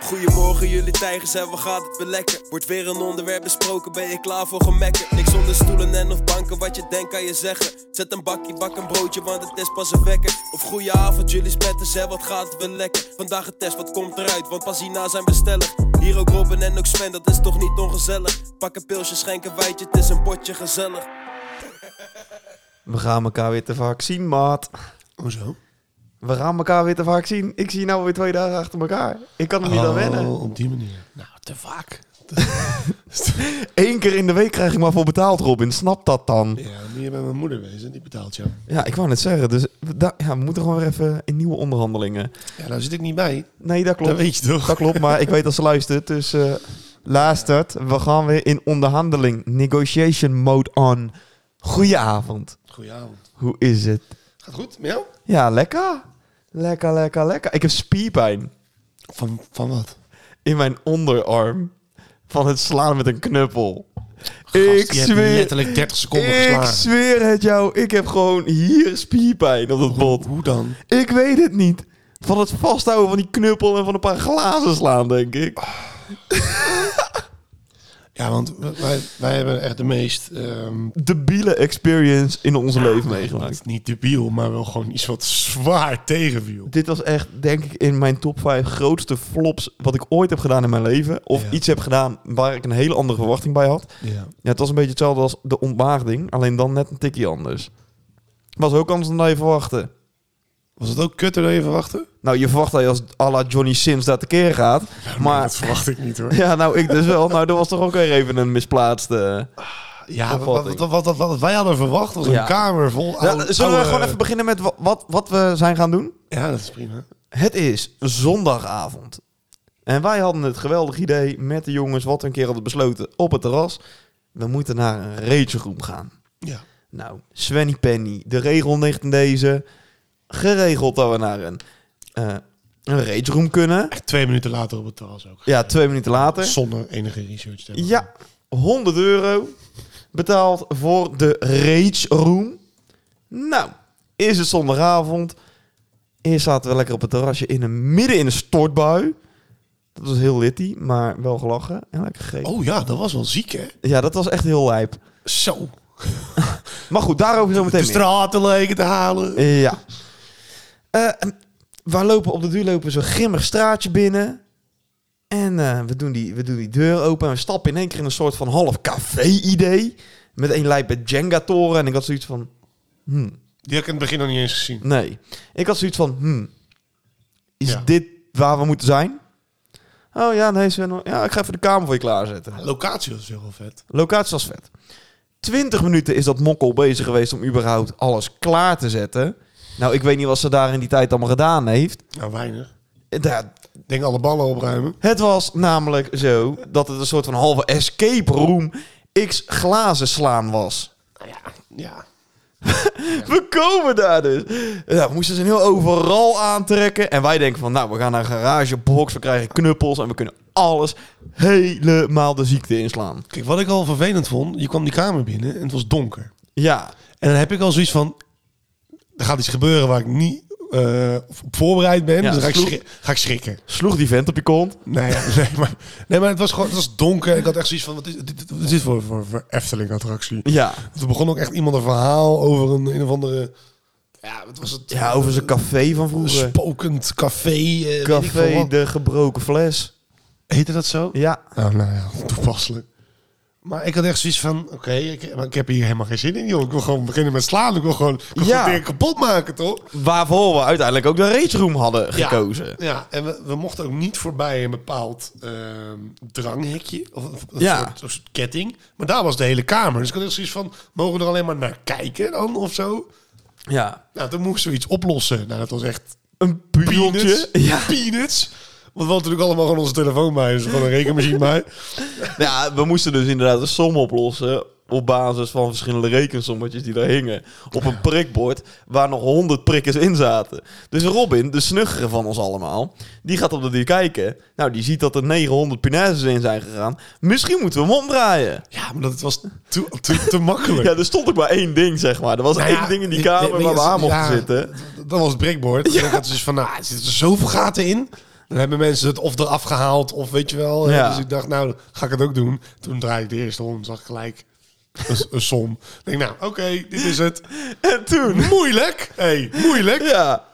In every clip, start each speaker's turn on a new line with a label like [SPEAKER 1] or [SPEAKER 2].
[SPEAKER 1] Goedemorgen jullie tijgers en wat gaat het weer lekker? Wordt weer een onderwerp besproken, ben je klaar voor gemekken? Niks onder stoelen en of banken, wat je denkt kan je zeggen Zet een bakje, bak een broodje, want het is pas een wekker Of goeie avond jullie spetters en wat gaat het weer lekker? Vandaag een test, wat komt eruit, want pas hierna zijn we stellig Hier ook Robin en ook Sven, dat is toch niet ongezellig? Pak een pilsje, schenk een wijtje, het is een potje gezellig
[SPEAKER 2] We gaan elkaar weer te vaak zien, maat.
[SPEAKER 3] Hoezo?
[SPEAKER 2] We gaan elkaar weer te vaak zien. Ik zie je nou weer twee dagen achter elkaar. Ik kan er niet
[SPEAKER 3] Oh.
[SPEAKER 2] aan wennen.
[SPEAKER 3] Op die manier. Nou, te vaak.
[SPEAKER 2] Eén keer in de week krijg ik maar voor betaald, Robin. Snap dat dan?
[SPEAKER 3] Ja, moet je bij mijn moeder wezen, die betaalt jou.
[SPEAKER 2] Ja, ik wou net zeggen. Dus we- da- ja, we moeten gewoon weer even in nieuwe onderhandelingen.
[SPEAKER 3] Ja, daar zit ik niet bij.
[SPEAKER 2] Nee, dat
[SPEAKER 3] Dat
[SPEAKER 2] klopt.
[SPEAKER 3] weet je toch?
[SPEAKER 2] Dat klopt, maar ik weet dat ze luistert. Dus eh luistert. We gaan weer in onderhandeling. Negotiation mode on. Goedenavond.
[SPEAKER 3] Goedenavond.
[SPEAKER 2] Hoe is het?
[SPEAKER 3] Gaat goed, met jou?
[SPEAKER 2] Ja, lekker. Lekker, lekker, lekker. Ik heb spierpijn
[SPEAKER 3] Van, van wat?
[SPEAKER 2] in mijn onderarm van het slaan met een knuppel. ik
[SPEAKER 3] je hebt
[SPEAKER 2] zweer,
[SPEAKER 3] letterlijk 30 seconden
[SPEAKER 2] ik
[SPEAKER 3] geslagen.
[SPEAKER 2] zweer het jou. Ik heb gewoon hier spierpijn op het bot.
[SPEAKER 3] Hoe dan?
[SPEAKER 2] Ik weet het niet. Van het vasthouden van die knuppel en van een paar glazen slaan, denk ik.
[SPEAKER 3] Ja, want w- wij, wij hebben echt de meest... ehm,
[SPEAKER 2] Debiele experience in onze
[SPEAKER 3] Ah,
[SPEAKER 2] leven meegemaakt.
[SPEAKER 3] niet, niet debiel, maar wel gewoon iets wat zwaar tegenviel.
[SPEAKER 2] Dit was echt, denk ik, in mijn top 5 grootste flops wat ik ooit heb gedaan in mijn leven. Of
[SPEAKER 3] Ja.
[SPEAKER 2] iets heb gedaan waar ik een hele andere verwachting bij had.
[SPEAKER 3] Ja.
[SPEAKER 2] Ja, het was een beetje hetzelfde als de ontmaagding, alleen dan net een tikje anders. Was ook anders dan dat je verwachtte.
[SPEAKER 3] Was het ook kutter dan je verwachtte?
[SPEAKER 2] Nou, je verwacht dat je als à la Johnny Sims daar tekeer gaat.
[SPEAKER 3] Dat
[SPEAKER 2] Maar
[SPEAKER 3] verwacht ik niet hoor.
[SPEAKER 2] ja, nou ik dus wel. Nou, dat was toch ook weer even een misplaatste...
[SPEAKER 3] Ja, wat,
[SPEAKER 2] Opvatting.
[SPEAKER 3] wat, wat, wat, wat wij hadden verwacht was een
[SPEAKER 2] Ja.
[SPEAKER 3] kamer vol
[SPEAKER 2] Ja,
[SPEAKER 3] oude-
[SPEAKER 2] zullen we
[SPEAKER 3] oude-
[SPEAKER 2] gewoon even beginnen met wa- wat, wat we zijn gaan doen?
[SPEAKER 3] Ja, dat is prima.
[SPEAKER 2] Het is zondagavond. En wij hadden het geweldig idee met de jongens wat we een keer hadden besloten op het terras. We moeten naar een rageroom gaan.
[SPEAKER 3] Ja.
[SPEAKER 2] Nou, Svenny Penny, de regel ligt in deze. Geregeld dat we naar een, eh een rageroom kunnen.
[SPEAKER 3] Echt twee minuten later op het terras ook.
[SPEAKER 2] Ja, twee minuten later.
[SPEAKER 3] Zonder enige research. te hebben.
[SPEAKER 2] Ja, 100 euro betaald voor de Rage Room. Nou, is het zondagavond. Eerst zaten we lekker op het terrasje in een, midden in een stortbui. Dat was heel litty, maar wel gelachen en lekker gegeten.
[SPEAKER 3] Oh ja, dat was wel ziek, hè?
[SPEAKER 2] Ja, dat was echt heel lijp.
[SPEAKER 3] Zo.
[SPEAKER 2] Maar goed, daarover zo meteen
[SPEAKER 3] De
[SPEAKER 2] meer.
[SPEAKER 3] straten leken te halen.
[SPEAKER 2] Ja. Eh, we lopen op de duur lopen we zo'n grimmig straatje binnen. En eh, we, doen die, we doen die deur open en we stappen in één keer in een soort van half café-idee. Met een lijpe Jenga-toren. En ik had zoiets van, hmm,
[SPEAKER 3] Die heb ik in het begin nog niet eens gezien.
[SPEAKER 2] nee. Ik had zoiets van, hmm, is
[SPEAKER 3] Ja.
[SPEAKER 2] dit waar we moeten zijn? Oh ja, nee Sven. Ja, ik ga even de kamer voor je klaarzetten.
[SPEAKER 3] Locatie was heel vet.
[SPEAKER 2] Locatie was vet. 20 minuten is dat mokkel bezig geweest om überhaupt alles klaar te zetten. Nou, ik weet niet wat ze daar in die tijd allemaal gedaan heeft.
[SPEAKER 3] Nou, weinig.
[SPEAKER 2] Eh, daar-
[SPEAKER 3] Ik Denk alle ballen opruimen.
[SPEAKER 2] Het was namelijk zo dat het een soort van halve escape room x glazen slaan was.
[SPEAKER 3] Ja.
[SPEAKER 2] We komen daar dus. Ja, we moesten ze een heel overal aantrekken. En wij denken van, nou, we gaan naar een garagebox, we krijgen knuppels en we kunnen alles helemaal de ziekte inslaan.
[SPEAKER 3] Kijk, wat ik al vervelend vond, je kwam die kamer binnen en het was donker.
[SPEAKER 2] Ja,
[SPEAKER 3] En dan heb ik al zoiets van, er gaat iets gebeuren waar ik niet eh, op voorbereid ben.
[SPEAKER 2] Ja,
[SPEAKER 3] dus dan ga ik,
[SPEAKER 2] sloeg-
[SPEAKER 3] schri- ga ik schrikken.
[SPEAKER 2] sloeg die vent op je kont.
[SPEAKER 3] Nee, ja, nee, maar, nee, maar het was gewoon het was donker. Ik had echt zoiets van, wat is dit, dit- wat is dit voor, voor, voor Efteling-attractie?
[SPEAKER 2] Ja.
[SPEAKER 3] Want Er begon ook echt iemand een verhaal over een, een of andere... Ja, wat was het?
[SPEAKER 2] Ja, over zijn café van
[SPEAKER 3] Een
[SPEAKER 2] vroeger.
[SPEAKER 3] spokend café. eh, weet ik veel
[SPEAKER 2] Café
[SPEAKER 3] wat.
[SPEAKER 2] de gebroken fles.
[SPEAKER 3] Heette dat zo?
[SPEAKER 2] Ja.
[SPEAKER 3] Oh, nou ja, toepasselijk. Maar ik had echt zoiets van, oké, ik, maar ik heb hier helemaal geen zin in, joh. Ik wil gewoon beginnen met slaan. Ik wil gewoon, ik wil
[SPEAKER 2] Ja.
[SPEAKER 3] gewoon dingen kapot maken, toch?
[SPEAKER 2] Waarvoor we uiteindelijk ook de race room hadden
[SPEAKER 3] Ja.
[SPEAKER 2] gekozen.
[SPEAKER 3] Ja, en we, we mochten ook niet voorbij een bepaald ehm, dranghekje. Of een- een,
[SPEAKER 2] Ja.
[SPEAKER 3] soort, een soort ketting. Maar daar was de hele kamer. Dus ik had echt zoiets van, mogen we er alleen maar naar kijken dan of zo?
[SPEAKER 2] Ja.
[SPEAKER 3] Nou, toen moesten we iets oplossen. Nou, dat was echt
[SPEAKER 2] Een
[SPEAKER 3] peanuts.
[SPEAKER 2] piontje. Ja.
[SPEAKER 3] Peanuts. Want we hadden natuurlijk allemaal gewoon onze telefoon bij. Dus gewoon een rekenmachine bij.
[SPEAKER 2] ja, we moesten dus inderdaad een som oplossen. Op basis van verschillende rekensommetjes die daar hingen. Op een prikbord waar nog 100 prikkers in zaten. Dus Robin, de snuggere van ons allemaal, die gaat op de duur kijken. Nou, die ziet dat er 900 punaises in zijn gegaan. Misschien moeten we hem omdraaien.
[SPEAKER 3] Ja, maar dat was te, te, te makkelijk.
[SPEAKER 2] Ja, er stond ook maar één ding, zeg maar. Er was
[SPEAKER 3] Nou
[SPEAKER 2] één
[SPEAKER 3] ja,
[SPEAKER 2] ding in die
[SPEAKER 3] weet-
[SPEAKER 2] kamer
[SPEAKER 3] weet-
[SPEAKER 2] waar we
[SPEAKER 3] weet-
[SPEAKER 2] aan mochten
[SPEAKER 3] ja,
[SPEAKER 2] zitten.
[SPEAKER 3] d- Dat was het breakboard. En ik had dus van, nou, er zitten zoveel gaten in. Dan hebben mensen het of eraf gehaald of weet je wel. hè.
[SPEAKER 2] Ja.
[SPEAKER 3] Dus ik dacht, nou, ga ik het ook doen. Toen draaide ik de eerste hond, zag ik gelijk een, een som. Ik denk, nou, oké, dit is het.
[SPEAKER 2] En toen...
[SPEAKER 3] Moeilijk! hey, moeilijk!
[SPEAKER 2] Ja.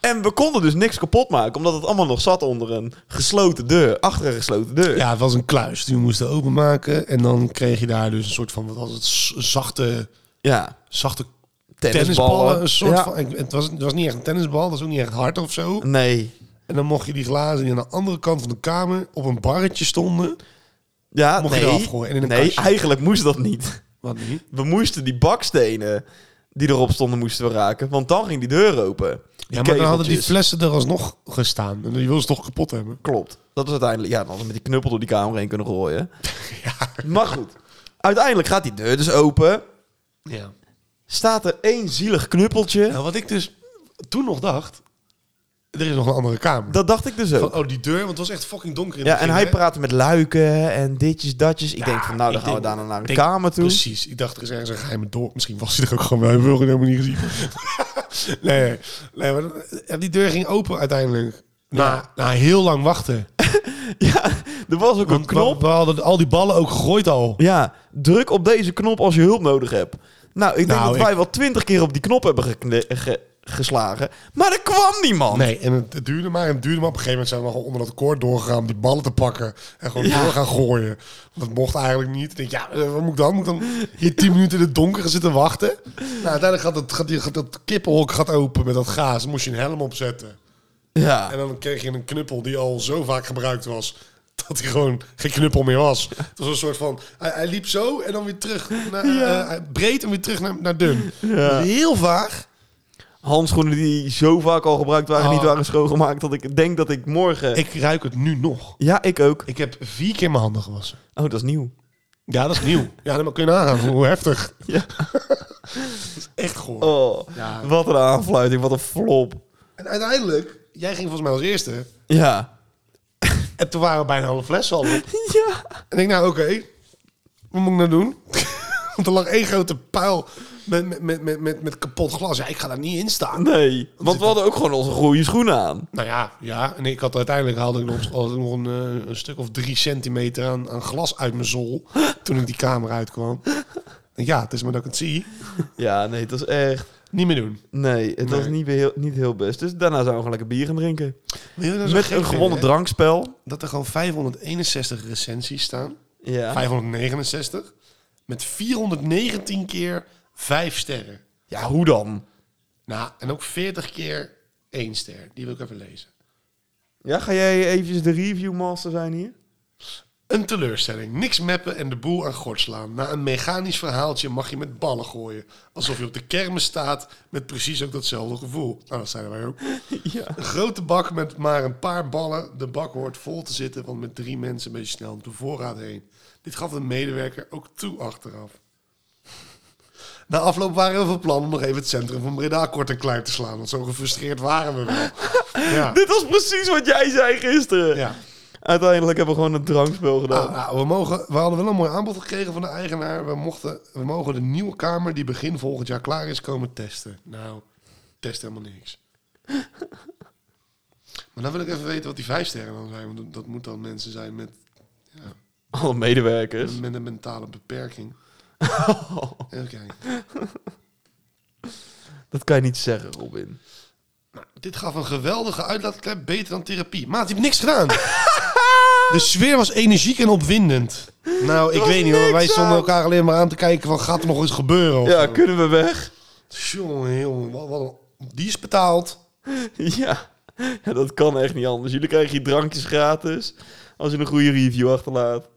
[SPEAKER 2] En we konden dus niks kapot maken, omdat het allemaal nog zat onder een gesloten deur. Achter een gesloten deur.
[SPEAKER 3] Ja, het was een kluis. Die we moesten openmaken. En dan kreeg je daar dus een soort van, wat was het, z- zachte,
[SPEAKER 2] Ja.
[SPEAKER 3] zachte
[SPEAKER 2] Tennisballen.
[SPEAKER 3] tennisballen. Een soort
[SPEAKER 2] Ja.
[SPEAKER 3] van, ik- het, was, het was niet echt een tennisbal, dat is ook niet echt hard of zo.
[SPEAKER 2] Nee.
[SPEAKER 3] En dan mocht je die glazen die aan de andere kant van de kamer op een barretje stonden.
[SPEAKER 2] Ja,
[SPEAKER 3] Mocht je
[SPEAKER 2] nee.
[SPEAKER 3] eraf gooien en in een
[SPEAKER 2] nee,
[SPEAKER 3] kastje.
[SPEAKER 2] eigenlijk moest dat niet.
[SPEAKER 3] Wat niet?
[SPEAKER 2] We moesten die bakstenen die erop stonden, moesten we raken. Want dan ging die deur open. Die
[SPEAKER 3] Ja, maar dan hadden die
[SPEAKER 2] kegeltjes.
[SPEAKER 3] flessen er alsnog gestaan. En die wilden ze toch kapot hebben.
[SPEAKER 2] Klopt. Dat is uiteindelijk... Ja, dan hadden we met die knuppel door die kamer heen kunnen gooien. Maar goed. Uiteindelijk gaat die deur dus open.
[SPEAKER 3] Ja.
[SPEAKER 2] Staat er één zielig knuppeltje.
[SPEAKER 3] Nou, wat ik dus toen nog dacht... Er is nog een andere kamer.
[SPEAKER 2] Dat dacht ik dus ook.
[SPEAKER 3] Van, oh, die deur, want het was echt fucking donker in
[SPEAKER 2] Ja,
[SPEAKER 3] het
[SPEAKER 2] en
[SPEAKER 3] begin,
[SPEAKER 2] hij
[SPEAKER 3] hè?
[SPEAKER 2] praatte met luiken en ditjes, datjes. Ik denk van, nou, dan
[SPEAKER 3] ik
[SPEAKER 2] gaan we
[SPEAKER 3] denk-
[SPEAKER 2] daarna naar een
[SPEAKER 3] denk-
[SPEAKER 2] kamer toe.
[SPEAKER 3] Precies. Ik dacht, er is ergens een geheime door. Misschien was hij er ook gewoon wel. Hebben we hem helemaal niet gezien. nee, nee maar dat- ja, die deur ging open uiteindelijk. Na, na heel lang wachten.
[SPEAKER 2] Ja, er was ook een
[SPEAKER 3] Want
[SPEAKER 2] knop.
[SPEAKER 3] We, we hadden al die ballen ook gegooid al.
[SPEAKER 2] Ja, druk op deze knop als je hulp nodig hebt. Nou, ik denk
[SPEAKER 3] Nou,
[SPEAKER 2] dat
[SPEAKER 3] ik-
[SPEAKER 2] wij wel twintig keer op die knop hebben gekne- ge- geslagen. Maar er kwam niemand.
[SPEAKER 3] Nee, en het, het duurde maar en het duurde maar. Op een gegeven moment zijn we gewoon onder dat koord doorgegaan om die ballen te pakken. En gewoon
[SPEAKER 2] Ja.
[SPEAKER 3] door gaan gooien. Want dat mocht eigenlijk niet. Ik denk, ja, eh, wat moet ik dan? Moet ik dan hier tien minuten in het donker gaan zitten wachten? Nou, uiteindelijk gaat, het, gaat, die, gaat dat kippenhok gaat open met dat gaas. Dan moest je een helm opzetten.
[SPEAKER 2] Ja.
[SPEAKER 3] En dan kreeg je een knuppel die al zo vaak gebruikt was. Dat hij gewoon geen knuppel meer was. Het was een soort van. Hij, hij liep zo en dan weer terug. Naar, eh, breed en weer terug naar, naar dun. Dat is heel vaag.
[SPEAKER 2] Handschoenen die zo vaak al gebruikt waren,
[SPEAKER 3] Oh.
[SPEAKER 2] niet waren schoongemaakt, dat ik denk dat ik morgen...
[SPEAKER 3] Ik ruik het nu nog.
[SPEAKER 2] Ja, ik ook.
[SPEAKER 3] Ik heb vier keer mijn handen gewassen.
[SPEAKER 2] Oh, dat is nieuw.
[SPEAKER 3] Ja, dat is nieuw. Ja, dan kun je nagaan hoe heftig.
[SPEAKER 2] Ja.
[SPEAKER 3] Dat is echt goor.
[SPEAKER 2] Oh,
[SPEAKER 3] Ja.
[SPEAKER 2] wat een aanfluiting, wat een flop.
[SPEAKER 3] En uiteindelijk, jij ging volgens mij als eerste.
[SPEAKER 2] Ja.
[SPEAKER 3] En toen waren we bijna alle flessen al op.
[SPEAKER 2] Ja.
[SPEAKER 3] En ik denk, nou oké, wat moet ik nou doen? Want er lag één grote puil met, met- met, met, met, met kapot glas. Ja, ik ga daar niet in staan.
[SPEAKER 2] Nee, want we hadden ook gewoon onze goede schoenen aan.
[SPEAKER 3] Nou ja, ja. En ik had uiteindelijk had ik nog, had ik nog een, eh, een stuk of drie centimeter aan, aan glas uit mijn zool. Toen ik die kamer uitkwam. En ja, het is maar dat ik het zie.
[SPEAKER 2] Ja, nee, het was echt...
[SPEAKER 3] Niet meer doen.
[SPEAKER 2] Nee, het was
[SPEAKER 3] Nee.
[SPEAKER 2] niet, weer heel, niet heel best. Dus daarna zijn we gewoon lekker bier gaan drinken.
[SPEAKER 3] Wil je nou zo
[SPEAKER 2] Met
[SPEAKER 3] gek
[SPEAKER 2] een
[SPEAKER 3] vinden,
[SPEAKER 2] gewonnen
[SPEAKER 3] hè?
[SPEAKER 2] drankspel.
[SPEAKER 3] Dat er gewoon 561 recensies staan.
[SPEAKER 2] Ja.
[SPEAKER 3] 569. Met 419 keer 5 sterren.
[SPEAKER 2] ja, hoe dan?
[SPEAKER 3] Nou, en ook 40 keer één ster. Die wil ik even lezen.
[SPEAKER 2] Ja, ga jij eventjes de reviewmaster zijn hier?
[SPEAKER 3] Een teleurstelling. Niks meppen en de boel aan gort slaan. Na een mechanisch verhaaltje mag je met ballen gooien. Alsof je op de kermis staat met precies ook datzelfde gevoel. Nou, dat zijn wij ook.
[SPEAKER 2] Ja.
[SPEAKER 3] Een grote bak met maar een paar ballen. De bak hoort vol te zitten, want met drie mensen ben je snel om de voorraad heen. Dit gaf de medewerker ook toe achteraf. Na afloop waren we van plan om nog even het centrum van Breda kort en klein te slaan. Want zo gefrustreerd waren we wel. Ja.
[SPEAKER 2] Dit was precies wat jij zei gisteren.
[SPEAKER 3] Ja.
[SPEAKER 2] Uiteindelijk hebben we gewoon een drankspel gedaan.
[SPEAKER 3] Nou, nou, we, mogen, we hadden wel een mooi aanbod gekregen van de eigenaar. We, mochten, we mogen de nieuwe kamer die begin volgend jaar klaar is komen testen. Nou, test helemaal niks. maar dan wil ik even weten wat die vijf sterren dan zijn. Want dat- dat moet dan mensen zijn met,
[SPEAKER 2] Alle medewerkers.
[SPEAKER 3] met een mentale beperking. Even kijken.
[SPEAKER 2] Dat kan je niet zeggen, Robin.
[SPEAKER 3] Nou, dit gaf een geweldige uitlaatklep, beter dan therapie. Maat, die heeft niks gedaan. De sfeer was energiek en opwindend. Nou, ik
[SPEAKER 2] was
[SPEAKER 3] weet niet hoor.
[SPEAKER 2] niks
[SPEAKER 3] Wij stonden
[SPEAKER 2] aan.
[SPEAKER 3] elkaar alleen maar aan te kijken van gaat er nog iets gebeuren? Of
[SPEAKER 2] Ja,
[SPEAKER 3] zo.
[SPEAKER 2] kunnen we weg?
[SPEAKER 3] Jongen, jongen, wat, wat een- Die is betaald.
[SPEAKER 2] Ja. ja, dat kan echt niet anders. Jullie krijgen je drankjes gratis als je een goede review achterlaat.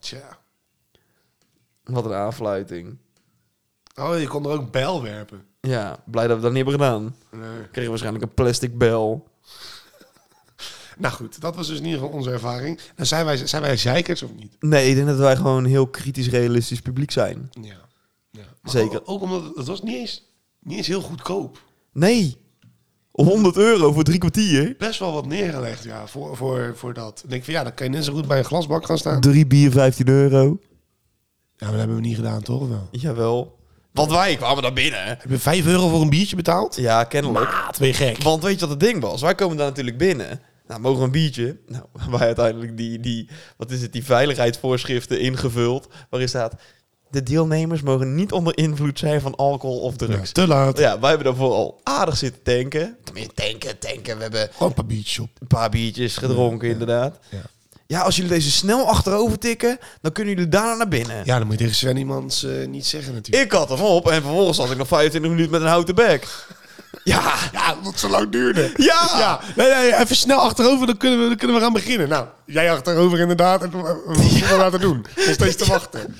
[SPEAKER 3] Tja.
[SPEAKER 2] Wat een aanfluiting.
[SPEAKER 3] Oh, je kon er ook bel werpen.
[SPEAKER 2] Ja, blij dat we dat niet hebben gedaan.
[SPEAKER 3] Nee.
[SPEAKER 2] Ik kreeg waarschijnlijk een plastic bel.
[SPEAKER 3] Nou goed, dat was dus in ieder geval onze ervaring. En zijn wij, zijn wij zeikers of niet?
[SPEAKER 2] Nee, ik denk dat wij gewoon een heel kritisch realistisch publiek zijn.
[SPEAKER 3] Ja.
[SPEAKER 2] Zeker.
[SPEAKER 3] Ook, ook omdat het, het was niet eens, niet eens heel goedkoop.
[SPEAKER 2] Nee. 100 euro voor drie kwartier.
[SPEAKER 3] Best wel wat neergelegd, ja, voor, voor, voor dat. Ik denk van ja, dan kan je net zo goed bij een glasbak gaan staan.
[SPEAKER 2] Drie bier, 15 euro.
[SPEAKER 3] Ja, maar dat hebben we niet gedaan, toch? Of Wel.
[SPEAKER 2] Jawel. Want wij kwamen daar binnen.
[SPEAKER 3] Heb je 5 euro voor een biertje betaald?
[SPEAKER 2] Ja, kennelijk.
[SPEAKER 3] Ah, twee gek.
[SPEAKER 2] Want weet je wat het ding was? Wij komen daar natuurlijk binnen. Nou, mogen we een biertje? Nou, wij uiteindelijk die, die, wat is het, die veiligheidsvoorschriften ingevuld. Waarin staat, de deelnemers mogen niet onder invloed zijn van alcohol of drugs.
[SPEAKER 3] te laat.
[SPEAKER 2] Ja, wij hebben daarvoor al aardig zitten tanken. Tenminste, tanken, tanken. We hebben
[SPEAKER 3] Gewoon een paar biertjes op.
[SPEAKER 2] een paar biertjes gedronken, inderdaad.
[SPEAKER 3] Ja.
[SPEAKER 2] Ja, als jullie deze snel achterover tikken, dan kunnen jullie daarna naar binnen.
[SPEAKER 3] ja, dan moet je tegen Sven iemans eh, niet zeggen natuurlijk.
[SPEAKER 2] Ik had hem op en vervolgens had ik nog 25 minuten met een houten bek. Ja,
[SPEAKER 3] Ja, dat zo lang duurde.
[SPEAKER 2] Ja.
[SPEAKER 3] ja. Nee, nee, even snel achterover, dan kunnen, we, dan kunnen we gaan beginnen. Nou, jij achterover inderdaad. En, eh, wat moeten we laten doen? Nog steeds te wachten.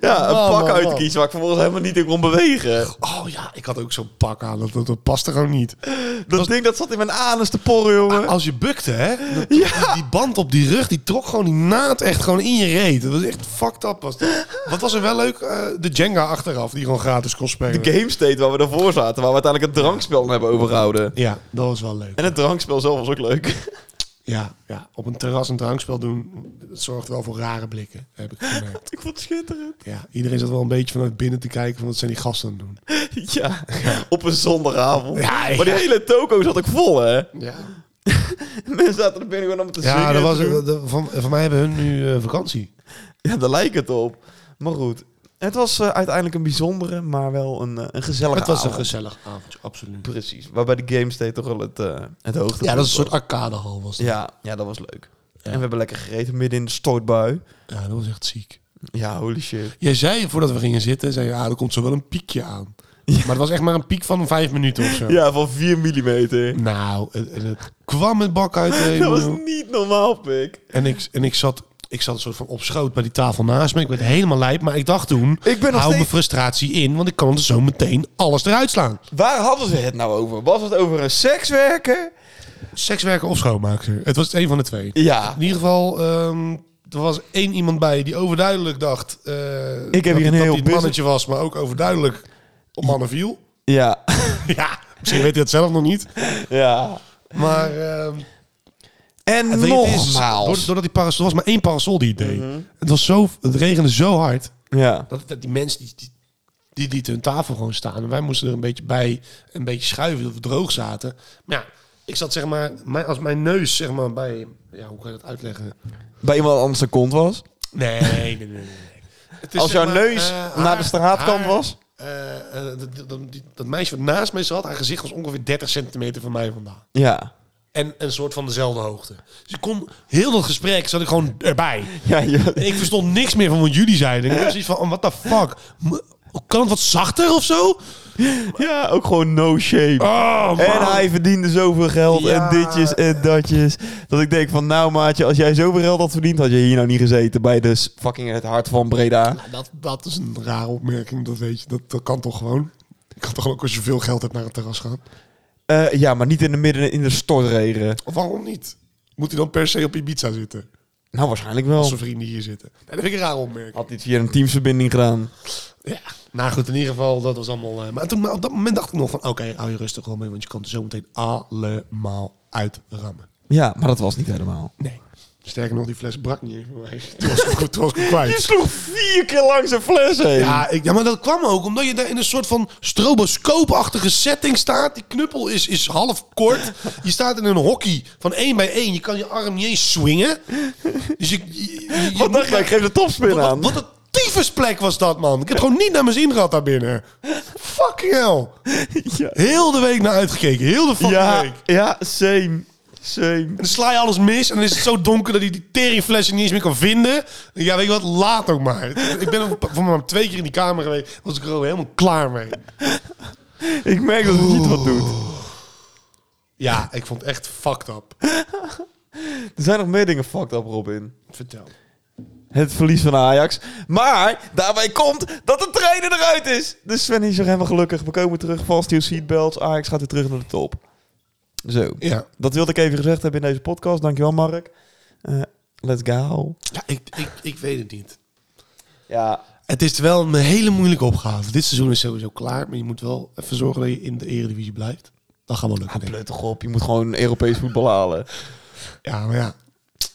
[SPEAKER 2] ja een
[SPEAKER 3] Man,
[SPEAKER 2] pak
[SPEAKER 3] man,
[SPEAKER 2] uit te
[SPEAKER 3] man.
[SPEAKER 2] kiezen waar ik vervolgens helemaal niet in kon bewegen.
[SPEAKER 3] Oh ja, ik had ook zo'n pak aan. Dat, dat, dat paste gewoon niet.
[SPEAKER 2] Dat ding dat zat in mijn anus te porren, jongen.
[SPEAKER 3] Als je bukte, hè? dat- die, die band op die rug, die trok gewoon die naad echt gewoon in je reet. Dat was echt fucked up. Was dat. Wat was er wel leuk? eh, de Jenga achteraf, die gewoon gratis kon spelen.
[SPEAKER 2] De game state waar we daarvoor zaten, waar we uiteindelijk het drankspel aan hebben overgehouden.
[SPEAKER 3] Ja, dat was wel leuk.
[SPEAKER 2] En het drankspel zelf was ook leuk.
[SPEAKER 3] Ja, ja, op een terras een drankspel doen, dat zorgt wel voor rare blikken, heb ik gemerkt.
[SPEAKER 2] ik vond het schitterend.
[SPEAKER 3] Ja, iedereen zat wel een beetje vanuit binnen te kijken van wat zijn die gasten aan het doen.
[SPEAKER 2] Ja, op een zondagavond.
[SPEAKER 3] Ja, ja.
[SPEAKER 2] Maar die hele toko zat ik vol, hè.
[SPEAKER 3] Ja,
[SPEAKER 2] Mensen zaten er binnen gewoon allemaal te zingen.
[SPEAKER 3] ja
[SPEAKER 2] en
[SPEAKER 3] dat was,
[SPEAKER 2] te doen.
[SPEAKER 3] dat- van, van mij hebben hun nu eh, vakantie.
[SPEAKER 2] Ja, daar lijkt het op. Maar goed, het was eh, uiteindelijk een bijzondere, maar wel een, eh, een gezellige
[SPEAKER 3] Het was een
[SPEAKER 2] avond.
[SPEAKER 3] gezellig avondje, absoluut.
[SPEAKER 2] Precies, waarbij de Game State toch wel het, eh het hoogtepunt
[SPEAKER 3] Ja, dat is een soort
[SPEAKER 2] was.
[SPEAKER 3] arcadehal was dat.
[SPEAKER 2] Ja, ja, dat was leuk. En we hebben lekker gegeten midden in de stortbui.
[SPEAKER 3] ja, dat was echt ziek.
[SPEAKER 2] Ja, holy shit.
[SPEAKER 3] Jij zei voordat we gingen zitten, zei je, ah, er komt zo wel een piekje aan. Maar het was echt maar een piek van vijf minuten of zo.
[SPEAKER 2] Ja, van 4 millimeter.
[SPEAKER 3] Nou, en, en het kwam met bak uit de
[SPEAKER 2] Dat was
[SPEAKER 3] hemel.
[SPEAKER 2] niet normaal, pik.
[SPEAKER 3] En, ik, en ik, zat, ik zat een soort van op schoot bij die tafel naast me. Ik werd helemaal lijp, maar ik dacht toen,
[SPEAKER 2] ben
[SPEAKER 3] ik
[SPEAKER 2] nog
[SPEAKER 3] hou mijn
[SPEAKER 2] steeds-
[SPEAKER 3] frustratie in, want ik kan er zo meteen alles eruit slaan.
[SPEAKER 2] Waar hadden ze het nou over? Was het over een sekswerker?
[SPEAKER 3] Sekswerker of schoonmaker. Het was het een van de twee.
[SPEAKER 2] Ja.
[SPEAKER 3] In ieder geval, ehm, er was één iemand bij die overduidelijk dacht... eh,
[SPEAKER 2] heb hier
[SPEAKER 3] dat-
[SPEAKER 2] een heel
[SPEAKER 3] dat die het
[SPEAKER 2] business-
[SPEAKER 3] mannetje was, maar ook overduidelijk op mannen viel.
[SPEAKER 2] Ja.
[SPEAKER 3] Ja, misschien weet hij dat zelf nog niet.
[SPEAKER 2] ja.
[SPEAKER 3] Maar ehm,
[SPEAKER 2] En
[SPEAKER 3] het weet je, het is- doord-
[SPEAKER 2] nogmaals. Mhm.
[SPEAKER 3] Doordat die parasol er was maar één parasol die het deed. Het, was zo, het regende zo hard.
[SPEAKER 2] Ja.
[SPEAKER 3] Dat, dat die mensen die, die, die lieten hun tafel gewoon staan. En wij moesten er een beetje bij, een beetje schuiven dat we droog zaten. Maar ja, ik zat zeg maar, mijn, als mijn neus zeg maar bij, ja hoe kan je dat uitleggen?
[SPEAKER 2] Bij iemand anders de kont was.
[SPEAKER 3] Nee, nee, nee. nee. Het is,
[SPEAKER 2] Als
[SPEAKER 3] zeg
[SPEAKER 2] jouw neus
[SPEAKER 3] eh,
[SPEAKER 2] naar de straatkant was?
[SPEAKER 3] eh, eh, dat, dat- dat- die- dat meisje wat naast mij zat, haar gezicht was ongeveer 30 centimeter van mij vandaan.
[SPEAKER 2] Ja.
[SPEAKER 3] En een soort van dezelfde hoogte. Dus ik kon heel dat gesprek zat ik gewoon erbij.
[SPEAKER 2] Ja,
[SPEAKER 3] En ik verstond niks meer van wat jullie zeiden. En ik was iets van, oh, what the fuck? M- Kan het wat zachter of zo?
[SPEAKER 2] ja ook gewoon no shame.
[SPEAKER 3] Oh, man.
[SPEAKER 2] En hij verdiende zoveel geld
[SPEAKER 3] Ja.
[SPEAKER 2] en ditjes en datjes. Dat ik denk van nou maatje, als jij zoveel geld had verdiend, had je hier nou niet gezeten bij de s- fucking het hart van Breda.
[SPEAKER 3] Nou, dat, dat is een rare opmerking, dat weet je. Dat, dat kan toch gewoon? Ik kan toch ook als je veel geld hebt naar het terras gaan?
[SPEAKER 2] Eh, ja, maar niet in de midden in de stortregen.
[SPEAKER 3] Of waarom niet? Moet hij dan per se op Ibiza zitten?
[SPEAKER 2] Nou, waarschijnlijk wel.
[SPEAKER 3] Als zijn vrienden hier zitten. Nee, dat vind ik een rare opmerking.
[SPEAKER 2] Had dit via een teamsverbinding gedaan.
[SPEAKER 3] Ja, nou goed, in ieder geval, dat was allemaal... eh, maar toen, maar op dat moment dacht ik nog van, oké, hou je rustig om mee. Want je kan er zo meteen allemaal uitrammen.
[SPEAKER 2] Ja, maar dat was niet helemaal.
[SPEAKER 3] Nee. Sterker nog, die fles brak niet eens voor mij. Toen was ik, goed- toen was ik kwijt.
[SPEAKER 2] sloeg vier keer langs een fles heen. Ja,
[SPEAKER 3] Ja, ik, ja, maar dat kwam ook omdat je daar in een soort van stroboscoopachtige setting staat. Die knuppel is, is half kort. Je staat in een hockey van één bij één. Je kan je arm niet eens swingen. Dus ik. je- je- je
[SPEAKER 2] Wat
[SPEAKER 3] moet
[SPEAKER 2] dacht jij? Ik
[SPEAKER 3] maar-
[SPEAKER 2] geef de topspin
[SPEAKER 3] Wat,
[SPEAKER 2] aan.
[SPEAKER 3] wat een tyfusplek was dat, man. Ik heb gewoon niet naar mijn zin gehad daar binnen. Fucking hell.
[SPEAKER 2] Ja.
[SPEAKER 3] Heel de week naar uitgekeken. Heel de fucking
[SPEAKER 2] Ja,
[SPEAKER 3] week.
[SPEAKER 2] ja, same. Same.
[SPEAKER 3] En dan sla je alles mis en dan is het zo donker dat hij die teringflessen niet eens meer kan vinden. Ja, weet je wat? Laat ook maar. Ik ben ook voor maar twee keer in die kamer geweest. Was ik er ook helemaal klaar mee.
[SPEAKER 2] Ik merk dat het niet wat doet.
[SPEAKER 3] Ja, ik vond het echt fucked up.
[SPEAKER 2] Er zijn nog meer dingen fucked up, Robin.
[SPEAKER 3] Vertel.
[SPEAKER 2] Het verlies van Ajax. Maar daarbij komt dat de trainer eruit is. Dus Sven is er helemaal gelukkig. We komen terug. Vast heel seatbelts. Ajax gaat weer terug naar de top. Zo.
[SPEAKER 3] Ja.
[SPEAKER 2] Dat wilde ik even gezegd hebben in deze podcast. Dankjewel, Mark. Eh, let's go.
[SPEAKER 3] ja ik, ik, ik weet het niet.
[SPEAKER 2] Ja.
[SPEAKER 3] Het is wel een hele moeilijke opgave. Dit seizoen is sowieso klaar, maar je moet wel even zorgen dat je in de eredivisie blijft. Dat gaat wel lukken. denk
[SPEAKER 2] Ah,
[SPEAKER 3] ik.
[SPEAKER 2] Let toch op. Je moet gewoon Europees voetbal halen.
[SPEAKER 3] Ja, maar ja. Dat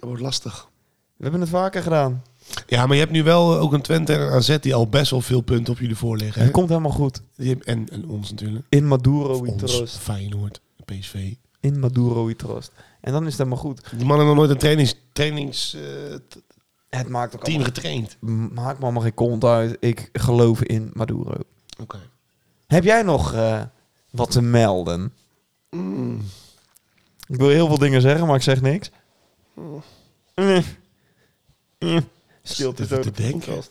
[SPEAKER 3] wordt lastig.
[SPEAKER 2] We hebben het vaker gedaan.
[SPEAKER 3] Ja, maar je hebt nu wel eh, ook een Twente en een AZ die al best wel veel punten op jullie voor liggen. hè?
[SPEAKER 2] Het komt helemaal goed.
[SPEAKER 3] Die hebben- En, en ons natuurlijk.
[SPEAKER 2] In Maduro.
[SPEAKER 3] Ons,
[SPEAKER 2] Witteros.
[SPEAKER 3] Feyenoord, PSV.
[SPEAKER 2] in Maduro y Trust. En dan is dat maar goed.
[SPEAKER 3] Die man heeft nog nooit een trainings, trainingsteam
[SPEAKER 2] Het maakt ook
[SPEAKER 3] getraind.
[SPEAKER 2] allemaal, maakt me allemaal geen kont uit. Ik geloof in Maduro.
[SPEAKER 3] Oké.
[SPEAKER 2] Heb jij nog eh, wat te melden?
[SPEAKER 3] Mm.
[SPEAKER 2] Ik wil heel veel dingen zeggen, maar ik zeg niks. Mm. Mm. Stilte is
[SPEAKER 3] Even
[SPEAKER 2] ook-
[SPEAKER 3] te denken.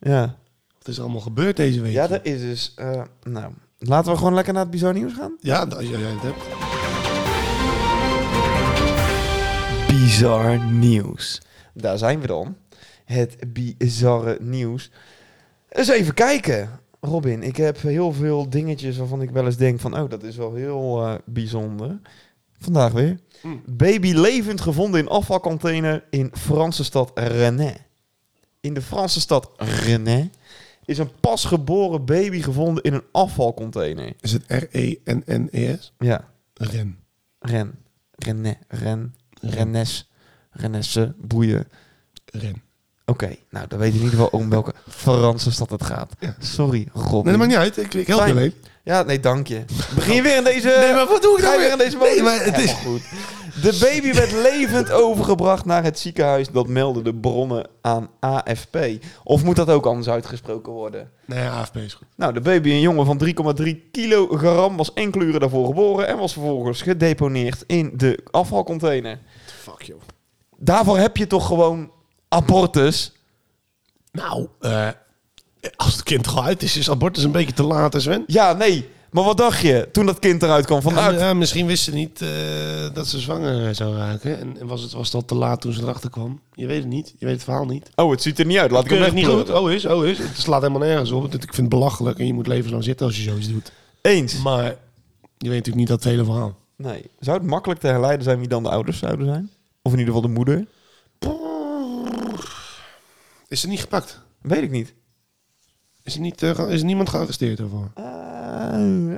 [SPEAKER 2] Ja.
[SPEAKER 3] Wat is er allemaal gebeurd deze week?
[SPEAKER 2] ja, dat is dus... eh, nou, laten we gewoon lekker naar het bizar nieuws gaan.
[SPEAKER 3] Ja, als jij het hebt.
[SPEAKER 2] Bizar nieuws. Daar zijn we dan. Het bizarre nieuws. Eens even kijken. Robin, ik heb heel veel dingetjes waarvan ik wel eens denk van... Oh, dat is wel heel eh, bijzonder. Vandaag weer.
[SPEAKER 3] Mm.
[SPEAKER 2] Baby levend gevonden in afvalcontainer in Franse stad Rennes. In de Franse stad Rennes is een pasgeboren baby gevonden in een afvalcontainer.
[SPEAKER 3] Is het E R-E-N-N-E-S?
[SPEAKER 2] Ja,
[SPEAKER 3] Ren.
[SPEAKER 2] Ren. Rennes. Ren. Rennes. Renesse. Boeien.
[SPEAKER 3] Ren.
[SPEAKER 2] Oké, nou dan weet je in ieder geval om welke Franse stad het gaat.
[SPEAKER 3] Ja.
[SPEAKER 2] Sorry, Robin.
[SPEAKER 3] Nee, dat maakt niet uit. Ik, ik help je
[SPEAKER 2] Fijn.
[SPEAKER 3] alleen.
[SPEAKER 2] Ja, nee, dank je. Begin je weer in deze... Nee, maar
[SPEAKER 3] wat doe ik nou
[SPEAKER 2] weer
[SPEAKER 3] weer?
[SPEAKER 2] in deze
[SPEAKER 3] Nee,
[SPEAKER 2] modus?
[SPEAKER 3] maar het is-
[SPEAKER 2] Helemaal goed. De baby werd levend overgebracht naar het ziekenhuis. Dat melden de bronnen aan AFP. Of moet dat ook anders uitgesproken worden?
[SPEAKER 3] Nee, AFP is goed.
[SPEAKER 2] Nou, de baby, een jongen van 3,3 kilogram, was enkele uren daarvoor geboren... en was vervolgens gedeponeerd in de afvalcontainer.
[SPEAKER 3] Fuck, joh.
[SPEAKER 2] Daarvoor heb je toch gewoon abortus?
[SPEAKER 3] Nou, eh, als het kind er al uit is, is abortus een beetje te laat, hè, Sven?
[SPEAKER 2] Ja, nee. Maar wat dacht je toen dat kind eruit kwam? Van,
[SPEAKER 3] Ja,
[SPEAKER 2] nou,
[SPEAKER 3] maar, ja, misschien wist ze niet eh, dat ze zwanger zou raken. En, en was het was het al te laat toen ze erachter kwam? Je weet het niet. Je weet het verhaal niet.
[SPEAKER 2] Oh, het ziet er niet uit. Laat ik hem eh,
[SPEAKER 3] Keurig niet goed.
[SPEAKER 2] wegpleuren.
[SPEAKER 3] Oh is, oh is. Het slaat helemaal nergens op. Ik vind het belachelijk. En je moet levenslang zitten als je zoiets doet.
[SPEAKER 2] Eens.
[SPEAKER 3] Maar je weet natuurlijk niet dat hele verhaal.
[SPEAKER 2] Nee. Zou het makkelijk te herleiden zijn wie dan de ouders zouden zijn? Of in ieder geval de moeder?
[SPEAKER 3] Is er niet gepakt?
[SPEAKER 2] Weet ik niet.
[SPEAKER 3] Is er, niet, eh, ge- is er niemand gearresteerd daarvoor?
[SPEAKER 2] Eh,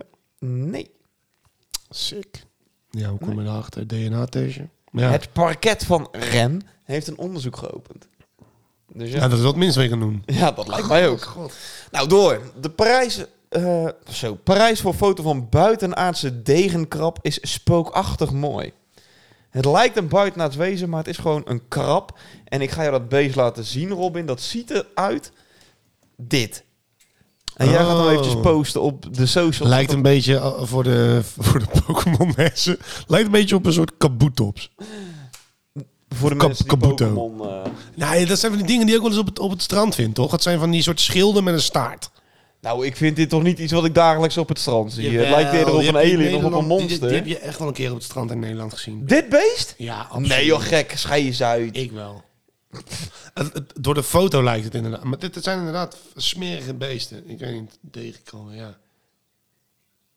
[SPEAKER 2] nee.
[SPEAKER 3] Sick. Ja, hoe kom je erachter? DNA-testje? Maar Ja.
[SPEAKER 2] Het parket van Ren heeft een onderzoek geopend. Dus
[SPEAKER 3] ja,
[SPEAKER 2] ja.
[SPEAKER 3] dat is wat minst wat je kan doen.
[SPEAKER 2] Ja, dat lijkt mij ook. Nou, door. De Parijs, eh, zo, Parijs voor foto van buitenaardse degenkrab is spookachtig mooi. Het lijkt een buitenaards wezen, maar het is gewoon een krab. En ik ga jou dat beest laten zien, Robin. Dat ziet eruit. Dit. En jij gaat hem
[SPEAKER 3] Oh.
[SPEAKER 2] eventjes posten op de social.
[SPEAKER 3] Lijkt een beetje, eh, voor de, voor de Pokémon mensen, lijkt een beetje op een soort kaboetops.
[SPEAKER 2] voor de
[SPEAKER 3] Kab-
[SPEAKER 2] mensen die
[SPEAKER 3] Kabuto.
[SPEAKER 2] Pokémon... eh,
[SPEAKER 3] Nee, Nou dat zijn van die dingen die je ook wel eens op het, op het strand vindt, toch? Dat zijn van die soort schilden met een staart.
[SPEAKER 2] nou, ik vind dit toch niet iets wat ik dagelijks op het strand zie. het lijkt eerder op een alien of op een monster.
[SPEAKER 3] Die, heb je echt wel een keer op het strand in Nederland gezien.
[SPEAKER 2] Dit beest?
[SPEAKER 3] Ja,
[SPEAKER 2] Nee joh, gek. Schei eens uit.
[SPEAKER 3] Ik wel. Het- het- door de foto lijkt het inderdaad. Maar dit, dit zijn inderdaad smerige beesten. Ik weet niet, tegenkomen, ja.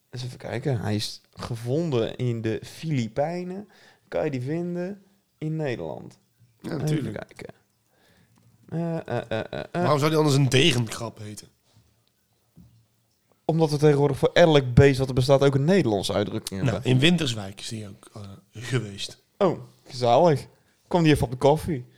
[SPEAKER 2] Eens even kijken. Hij is gevonden in de Filipijnen. Kan je die vinden in Nederland?
[SPEAKER 3] Ja, natuurlijk.
[SPEAKER 2] Even kijken. Eh, eh, eh, eh, eh.
[SPEAKER 3] Waarom zou die anders een degenkrab heten?
[SPEAKER 2] Omdat we tegenwoordig voor elk beest wat er bestaat ook een Nederlandse uitdrukking
[SPEAKER 3] Nou,
[SPEAKER 2] hebben.
[SPEAKER 3] in Winterswijk is die ook eh, geweest.
[SPEAKER 2] Oh, gezellig. Kom die even op de koffie.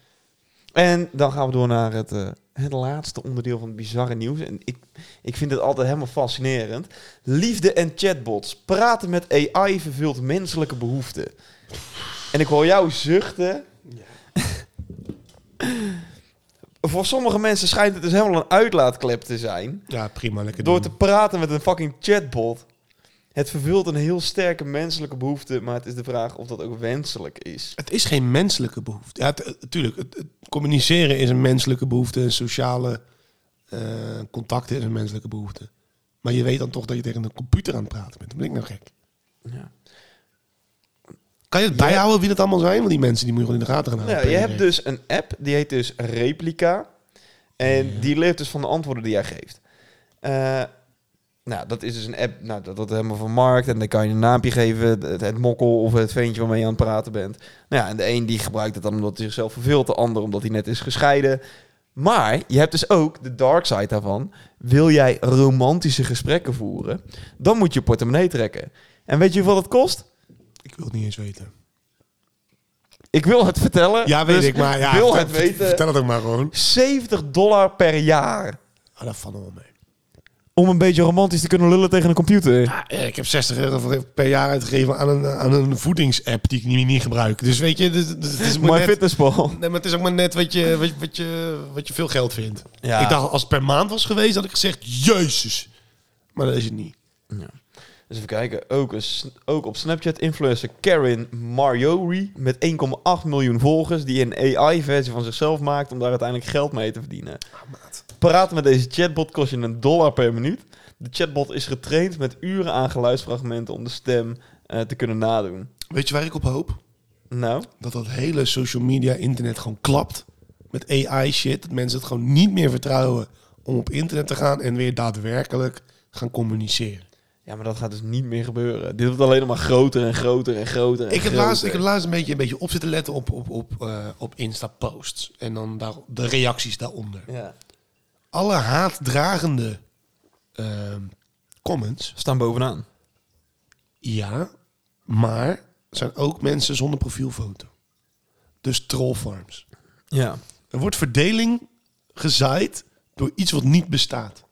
[SPEAKER 2] En dan gaan we door naar het, eh, het laatste onderdeel van het bizarre nieuws. En ik, ik vind het altijd helemaal fascinerend. Liefde en chatbots. Praten met AI vervult menselijke behoeften. En ik hoor jou zuchten. Voor sommige mensen schijnt het dus helemaal een uitlaatklep te zijn.
[SPEAKER 3] Ja, prima, lekker
[SPEAKER 2] Door te
[SPEAKER 3] doen.
[SPEAKER 2] praten met een fucking chatbot. Het vervult een heel sterke menselijke behoefte, maar het is de vraag of dat ook wenselijk is.
[SPEAKER 3] Het is geen menselijke behoefte. Ja, het- het- tuurlijk, het, het communiceren is een menselijke behoefte. En sociale eh, contacten is een menselijke behoefte. Maar je weet dan toch dat je tegen een computer aan het praten bent. Dan ben ik nou gek.
[SPEAKER 2] Ja.
[SPEAKER 3] Kan je het bijhouden wie dat allemaal zijn? Want die mensen die moet je gewoon in de gaten gaan houden.
[SPEAKER 2] Nou, je hebt dus een app, die heet dus Replica. En die leert dus van de antwoorden die jij geeft. Eh, nou, dat is dus een app, nou, dat, dat helemaal van markt. En dan kan je een naampje geven, het, het mokkel of het ventje waarmee je aan het praten bent. Nou ja, en de een die gebruikt het dan omdat hij zichzelf verveelt. De ander omdat hij net is gescheiden. Maar je hebt dus ook de dark side daarvan. Wil jij romantische gesprekken voeren, dan moet je portemonnee trekken. En weet je hoeveel dat kost?
[SPEAKER 3] Ik wil het niet eens weten.
[SPEAKER 2] Ik wil het vertellen.
[SPEAKER 3] Ja, weet
[SPEAKER 2] dus
[SPEAKER 3] ik, maar ja,
[SPEAKER 2] wil
[SPEAKER 3] vertel-
[SPEAKER 2] het weten.
[SPEAKER 3] Vertel het ook maar gewoon.
[SPEAKER 2] 70 dollar per jaar.
[SPEAKER 3] Ah, dat valt nog wel mee.
[SPEAKER 2] om een beetje romantisch te kunnen lullen tegen een computer.
[SPEAKER 3] Ah, Ja, ik heb 60 euro voor- per jaar uitgegeven aan een, aan een voedingsapp die ik niet, niet gebruik. Dus weet je, dit- dit- dit is maar
[SPEAKER 2] My
[SPEAKER 3] net,
[SPEAKER 2] fitnesspal.
[SPEAKER 3] nee, maar het is ook maar net wat je, wat, je- wat, je, wat je veel geld vindt.
[SPEAKER 2] Ja.
[SPEAKER 3] Ik dacht, als het per maand was geweest, had ik gezegd, jezus. Maar dat is het niet.
[SPEAKER 2] Dus even kijken. Ook, een s- ook op Snapchat influencer Karen Mariori met 1,8 miljoen volgers die een AI-versie van zichzelf maakt om daar uiteindelijk geld mee te verdienen. Praten met deze chatbot kost je een dollar per minuut. De chatbot is getraind met uren aan geluidsfragmenten om de stem eh, te kunnen nadoen.
[SPEAKER 3] Weet je waar ik op hoop?
[SPEAKER 2] Nou,
[SPEAKER 3] Dat dat hele social media internet gewoon klapt. Met AI shit. Dat mensen het gewoon niet meer vertrouwen om op internet te gaan en weer daadwerkelijk gaan communiceren.
[SPEAKER 2] ja, maar dat gaat dus niet meer gebeuren. Dit wordt alleen nog maar groter en groter en groter. En
[SPEAKER 3] Ik heb,
[SPEAKER 2] groter.
[SPEAKER 3] laatst, ik heb laatst een beetje, een beetje op zitten letten op, op, op, eh, op Insta-posts. En dan daar, de reacties daaronder.
[SPEAKER 2] Ja.
[SPEAKER 3] Alle haatdragende ehm, comments.
[SPEAKER 2] We staan bovenaan.
[SPEAKER 3] Ja, maar zijn ook mensen zonder profielfoto. Dus trollfarms.
[SPEAKER 2] Ja.
[SPEAKER 3] Er wordt verdeling gezaaid door iets wat niet bestaat.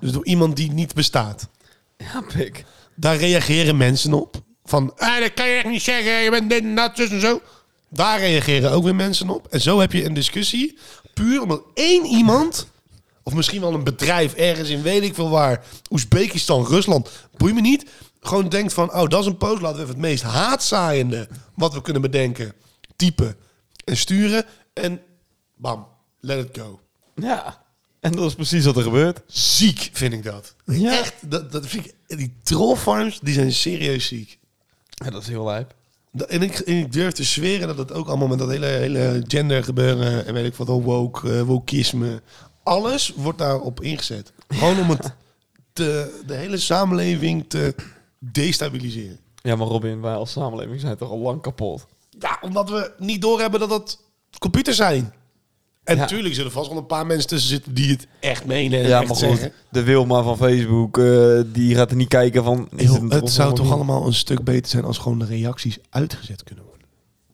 [SPEAKER 3] Dus door iemand die niet bestaat.
[SPEAKER 2] Ja, pik.
[SPEAKER 3] Daar reageren mensen op. Van, ah, dat kan je echt niet zeggen, je bent dit en dat, zus en zo. Daar reageren ook weer mensen op. En zo heb je een discussie. Puur omdat één iemand, of misschien wel een bedrijf ergens in weet ik veel waar, Oezbekistan, Rusland, boeit me niet. Gewoon denkt van, oh, dat is een post, laten we even het meest haatzaaiende wat we kunnen bedenken, typen en sturen. En bam, let it go.
[SPEAKER 2] Ja. En dat is precies wat er gebeurt.
[SPEAKER 3] Ziek vind ik dat.
[SPEAKER 2] Ja.
[SPEAKER 3] Echt, dat, dat vind ik, die trollfarms, die zijn serieus ziek.
[SPEAKER 2] Ja, dat is heel lijp.
[SPEAKER 3] Da- En ik, en ik durf te zweren dat het ook allemaal met dat hele, hele gender gebeuren en weet ik wat, al woke, eh, wokisme. Alles wordt daarop ingezet. Gewoon om het te, de hele samenleving te destabiliseren.
[SPEAKER 2] Ja, maar Robin, wij als samenleving zijn toch al lang kapot.
[SPEAKER 3] Ja, omdat we niet doorhebben dat dat computers zijn. En
[SPEAKER 2] Ja.
[SPEAKER 3] natuurlijk zullen vast wel een paar mensen tussen zitten die het echt menen en
[SPEAKER 2] Ja,
[SPEAKER 3] echt
[SPEAKER 2] maar goed,
[SPEAKER 3] zeggen.
[SPEAKER 2] de Wilma van Facebook, eh, die gaat er niet kijken van... is
[SPEAKER 3] Joh,
[SPEAKER 2] een
[SPEAKER 3] het
[SPEAKER 2] trots
[SPEAKER 3] zou toch
[SPEAKER 2] allemaal-
[SPEAKER 3] allemaal een stuk beter zijn als gewoon de reacties uitgezet kunnen worden.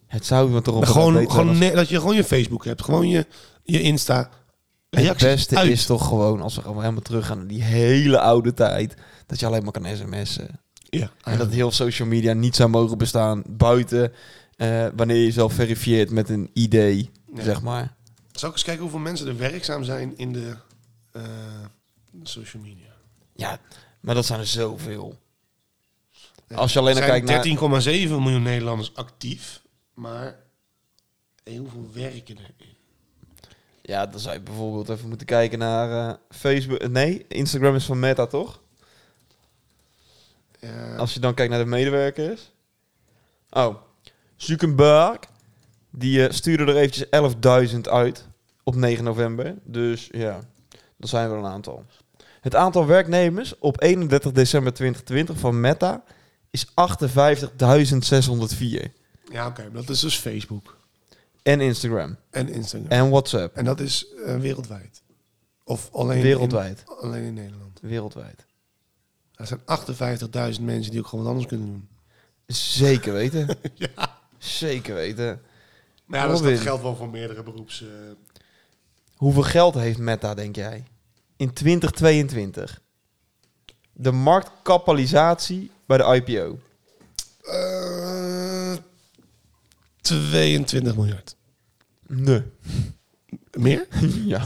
[SPEAKER 2] Het zou maar toch
[SPEAKER 3] Maar
[SPEAKER 2] allemaal
[SPEAKER 3] gewoon,
[SPEAKER 2] beter
[SPEAKER 3] gewoon
[SPEAKER 2] zijn
[SPEAKER 3] net- dat je gewoon je Facebook hebt, gewoon je, je Insta.
[SPEAKER 2] als-
[SPEAKER 3] Reacties
[SPEAKER 2] Het beste
[SPEAKER 3] uit.
[SPEAKER 2] is toch gewoon, als we gewoon helemaal teruggaan naar die hele oude tijd... dat je alleen maar kan sms'en.
[SPEAKER 3] Ja.
[SPEAKER 2] En dat heel social media niet zou mogen bestaan buiten... eh, wanneer je jezelf verifieert met een ID, zeg maar.
[SPEAKER 3] Zal ik eens kijken hoeveel mensen er werkzaam zijn in de eh, social media?
[SPEAKER 2] Ja, maar dat zijn er zoveel. Als je alleen
[SPEAKER 3] Er
[SPEAKER 2] naar
[SPEAKER 3] zijn
[SPEAKER 2] kijkt naar...
[SPEAKER 3] 13,7 miljoen Nederlanders actief, maar heel veel werken erin.
[SPEAKER 2] Ja, dan zou je bijvoorbeeld even moeten kijken naar eh, Facebook. eh, Nee, Instagram is van Meta, toch?
[SPEAKER 3] Eh,
[SPEAKER 2] Als je dan kijkt naar de medewerkers. Oh, Zuckerberg. Die eh, stuurde er eventjes 11.000 uit op 9 november. Dus ja, dat zijn er een aantal. Het aantal werknemers op 31 december 2020 van Meta is 58.604.
[SPEAKER 3] ja, oké, maar dat is dus Facebook
[SPEAKER 2] En Instagram.
[SPEAKER 3] en Instagram. En,
[SPEAKER 2] En WhatsApp.
[SPEAKER 3] dat is eh, wereldwijd. Of alleen
[SPEAKER 2] Wereldwijd.
[SPEAKER 3] In, alleen in Nederland.
[SPEAKER 2] Wereldwijd.
[SPEAKER 3] Er zijn 58.000 mensen die ook gewoon wat anders kunnen doen.
[SPEAKER 2] Zeker weten. Zeker weten.
[SPEAKER 3] Maar
[SPEAKER 2] ja, dat is- dat Robin. geldt
[SPEAKER 3] wel voor meerdere beroeps. eh,
[SPEAKER 2] Hoeveel geld heeft Meta, denk jij? In 2022. De marktkapitalisatie bij de IPO.
[SPEAKER 3] 22 Eh, miljard.
[SPEAKER 2] Nee.
[SPEAKER 3] Meer?
[SPEAKER 2] Ja.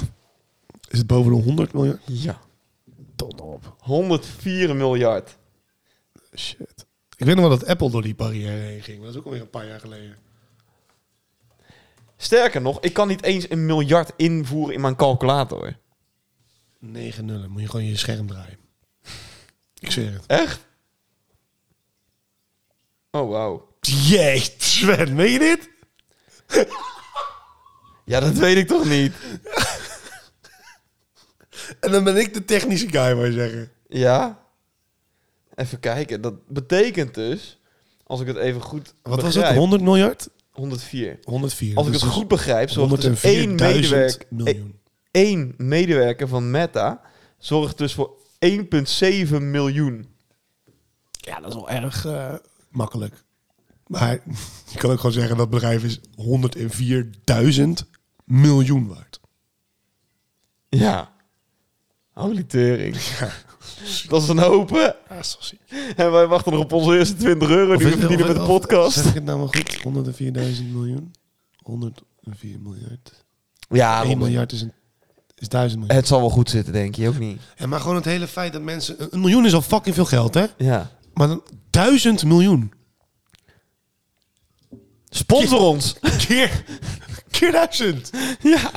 [SPEAKER 3] Is het boven de 100 miljard?
[SPEAKER 2] Ja.
[SPEAKER 3] Ton op.
[SPEAKER 2] 104 miljard.
[SPEAKER 3] Shit. Ik weet nog wel dat Apple door die barrière heen ging. maar Dat is ook alweer een paar jaar geleden.
[SPEAKER 2] Sterker nog, ik kan niet eens een miljard invoeren in mijn calculator.
[SPEAKER 3] 9 nullen. Moet je gewoon je scherm draaien. Ik zweer het.
[SPEAKER 2] Echt? Oh, wauw.
[SPEAKER 3] Jeet, Sven. Meen je dit?
[SPEAKER 2] Ja, dat weet ik toch niet?
[SPEAKER 3] En dan ben ik de technische guy, maar zeggen.
[SPEAKER 2] Ja? Even kijken. Dat betekent dus, als ik het even goed
[SPEAKER 3] Wat was
[SPEAKER 2] begrijp...
[SPEAKER 3] dat? 100 miljard?
[SPEAKER 2] 104.
[SPEAKER 3] 104.
[SPEAKER 2] Als ik
[SPEAKER 3] Dus
[SPEAKER 2] het goed begrijp, zorgt dus één
[SPEAKER 3] 104.000
[SPEAKER 2] medewerker...
[SPEAKER 3] miljoen.
[SPEAKER 2] één medewerker van Meta zorgt dus voor 1,7 miljoen.
[SPEAKER 3] Ja, dat is wel erg eh, makkelijk. Maar je kan ook gewoon zeggen dat bedrijf is 104.000 miljoen waard.
[SPEAKER 2] Ja. Holy tering. Dat is een hoop, hè?
[SPEAKER 3] Ah, sorry.
[SPEAKER 2] En wij wachten nog op onze eerste 20 euro die we verdienen met de podcast.
[SPEAKER 3] Zeg ik het nou maar goed? 104.000 miljoen? 104 miljard.
[SPEAKER 2] Ja,
[SPEAKER 3] 1
[SPEAKER 2] Robin.
[SPEAKER 3] miljard is, een, is 1000 miljoen.
[SPEAKER 2] Het zal wel goed zitten, denk je. Ook niet.
[SPEAKER 3] Ja, maar gewoon het hele feit dat mensen... Een miljoen is al fucking veel geld, hè?
[SPEAKER 2] Ja.
[SPEAKER 3] Maar dan 1000 miljoen.
[SPEAKER 2] Sponsor ons.
[SPEAKER 3] Keer, keer duizend.
[SPEAKER 2] Ja.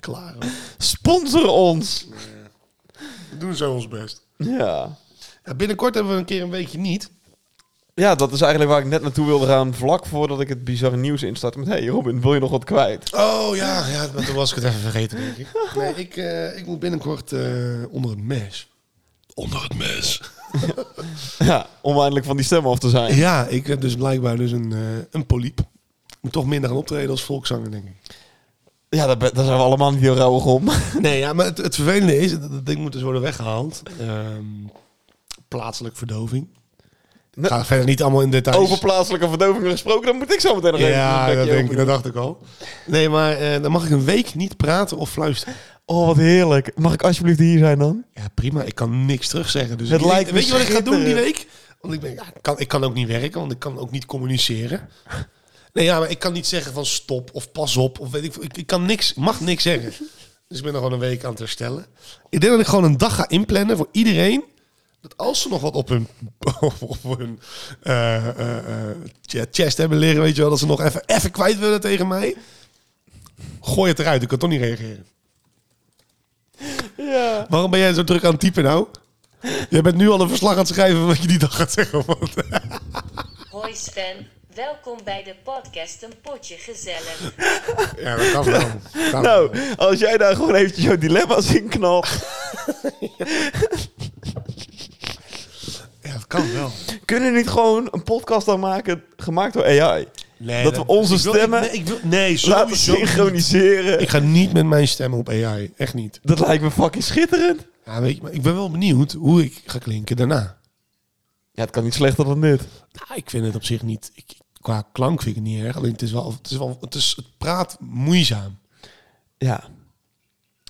[SPEAKER 3] Klaar.
[SPEAKER 2] Sponsor ons.
[SPEAKER 3] We doen zo ons best.
[SPEAKER 2] Ja.
[SPEAKER 3] Ja, binnenkort hebben we een keer een weekje niet.
[SPEAKER 2] Ja, dat is eigenlijk waar ik net naartoe wilde gaan. Vlak voordat ik het bizarre nieuws instart. Met, hey Robin, wil je nog wat kwijt?
[SPEAKER 3] Oh ja, ja maar toen was ik het even vergeten, denk ik. Nee, ik, eh, ik moet binnenkort eh, onder het mes. Onder het mes.
[SPEAKER 2] Ja, om eindelijk van die stem af te zijn.
[SPEAKER 3] Ja, ik heb dus blijkbaar dus een, eh, een poliep. Ik moet toch minder gaan optreden als volkszanger, denk ik.
[SPEAKER 2] Ja, daar, ben- daar zijn we allemaal niet heel rauwig om.
[SPEAKER 3] Nee, ja, maar het, het vervelende is, dat, dat ding moet dus worden weggehaald. Ehm, plaatselijk verdoving. Ik ga verder niet allemaal in details.
[SPEAKER 2] Over plaatselijke verdoving gesproken, dan moet ik zo meteen nog even
[SPEAKER 3] ja,
[SPEAKER 2] een
[SPEAKER 3] dat,
[SPEAKER 2] brekje
[SPEAKER 3] denk ik,
[SPEAKER 2] openen.
[SPEAKER 3] dat dacht ik al. Nee, maar eh, dan mag ik een week niet praten of fluisteren.
[SPEAKER 2] Oh, wat heerlijk. Mag ik alsjeblieft hier zijn dan?
[SPEAKER 3] Ja, prima. Ik kan niks terugzeggen. Dus
[SPEAKER 2] Het
[SPEAKER 3] ik-
[SPEAKER 2] lijkt me
[SPEAKER 3] weet je wat ik ga doen die
[SPEAKER 2] schitterend.
[SPEAKER 3] week? Want ik, ben, ja, ik kan, ik kan ook niet werken, want ik kan ook niet communiceren. Nee, ja, maar ik kan niet zeggen van stop of pas op. Of weet ik, veel. ik, ik kan niks, mag niks zeggen. Dus ik ben er gewoon een week aan het herstellen. Ik denk dat ik gewoon een dag ga inplannen voor iedereen. Dat als ze nog wat op hun, op hun eh, eh, eh, ch- chest hebben liggen, weet je wel, dat ze nog even, even kwijt willen tegen mij. Gooi het eruit, ik kan toch niet reageren.
[SPEAKER 2] Ja.
[SPEAKER 3] Waarom ben jij zo druk aan het typen nou? Jij bent nu al een verslag aan het schrijven van wat je die dag gaat zeggen. Want...
[SPEAKER 4] Hoi Sven, welkom bij de podcast Een Potje Gezellig.
[SPEAKER 3] Ja, dat kan wel. Kan wel.
[SPEAKER 2] Nou, als jij daar gewoon eventjes jouw dilemma's in knalt.
[SPEAKER 3] Ja, dat kan wel.
[SPEAKER 2] Kunnen we niet gewoon een podcast aan maken, gemaakt door AI?
[SPEAKER 3] Nee,
[SPEAKER 2] dat we onze
[SPEAKER 3] ik wil-
[SPEAKER 2] stemmen
[SPEAKER 3] ik- nee, ik wil, nee,
[SPEAKER 2] Laten
[SPEAKER 3] sowieso niet.
[SPEAKER 2] synchroniseren.
[SPEAKER 3] Ik ga niet met mijn stemmen op AI. Echt niet.
[SPEAKER 2] Dat lijkt me fucking schitterend.
[SPEAKER 3] Ja, weet je, maar ik ben wel benieuwd hoe ik ga klinken daarna.
[SPEAKER 2] Ja, het kan niet slechter dan dit.
[SPEAKER 3] Nou, ik vind het op zich niet... Ik, qua klank vind ik het niet erg. Alleen het is wel... Het, is wel, het, is, het praat moeizaam.
[SPEAKER 2] Ja,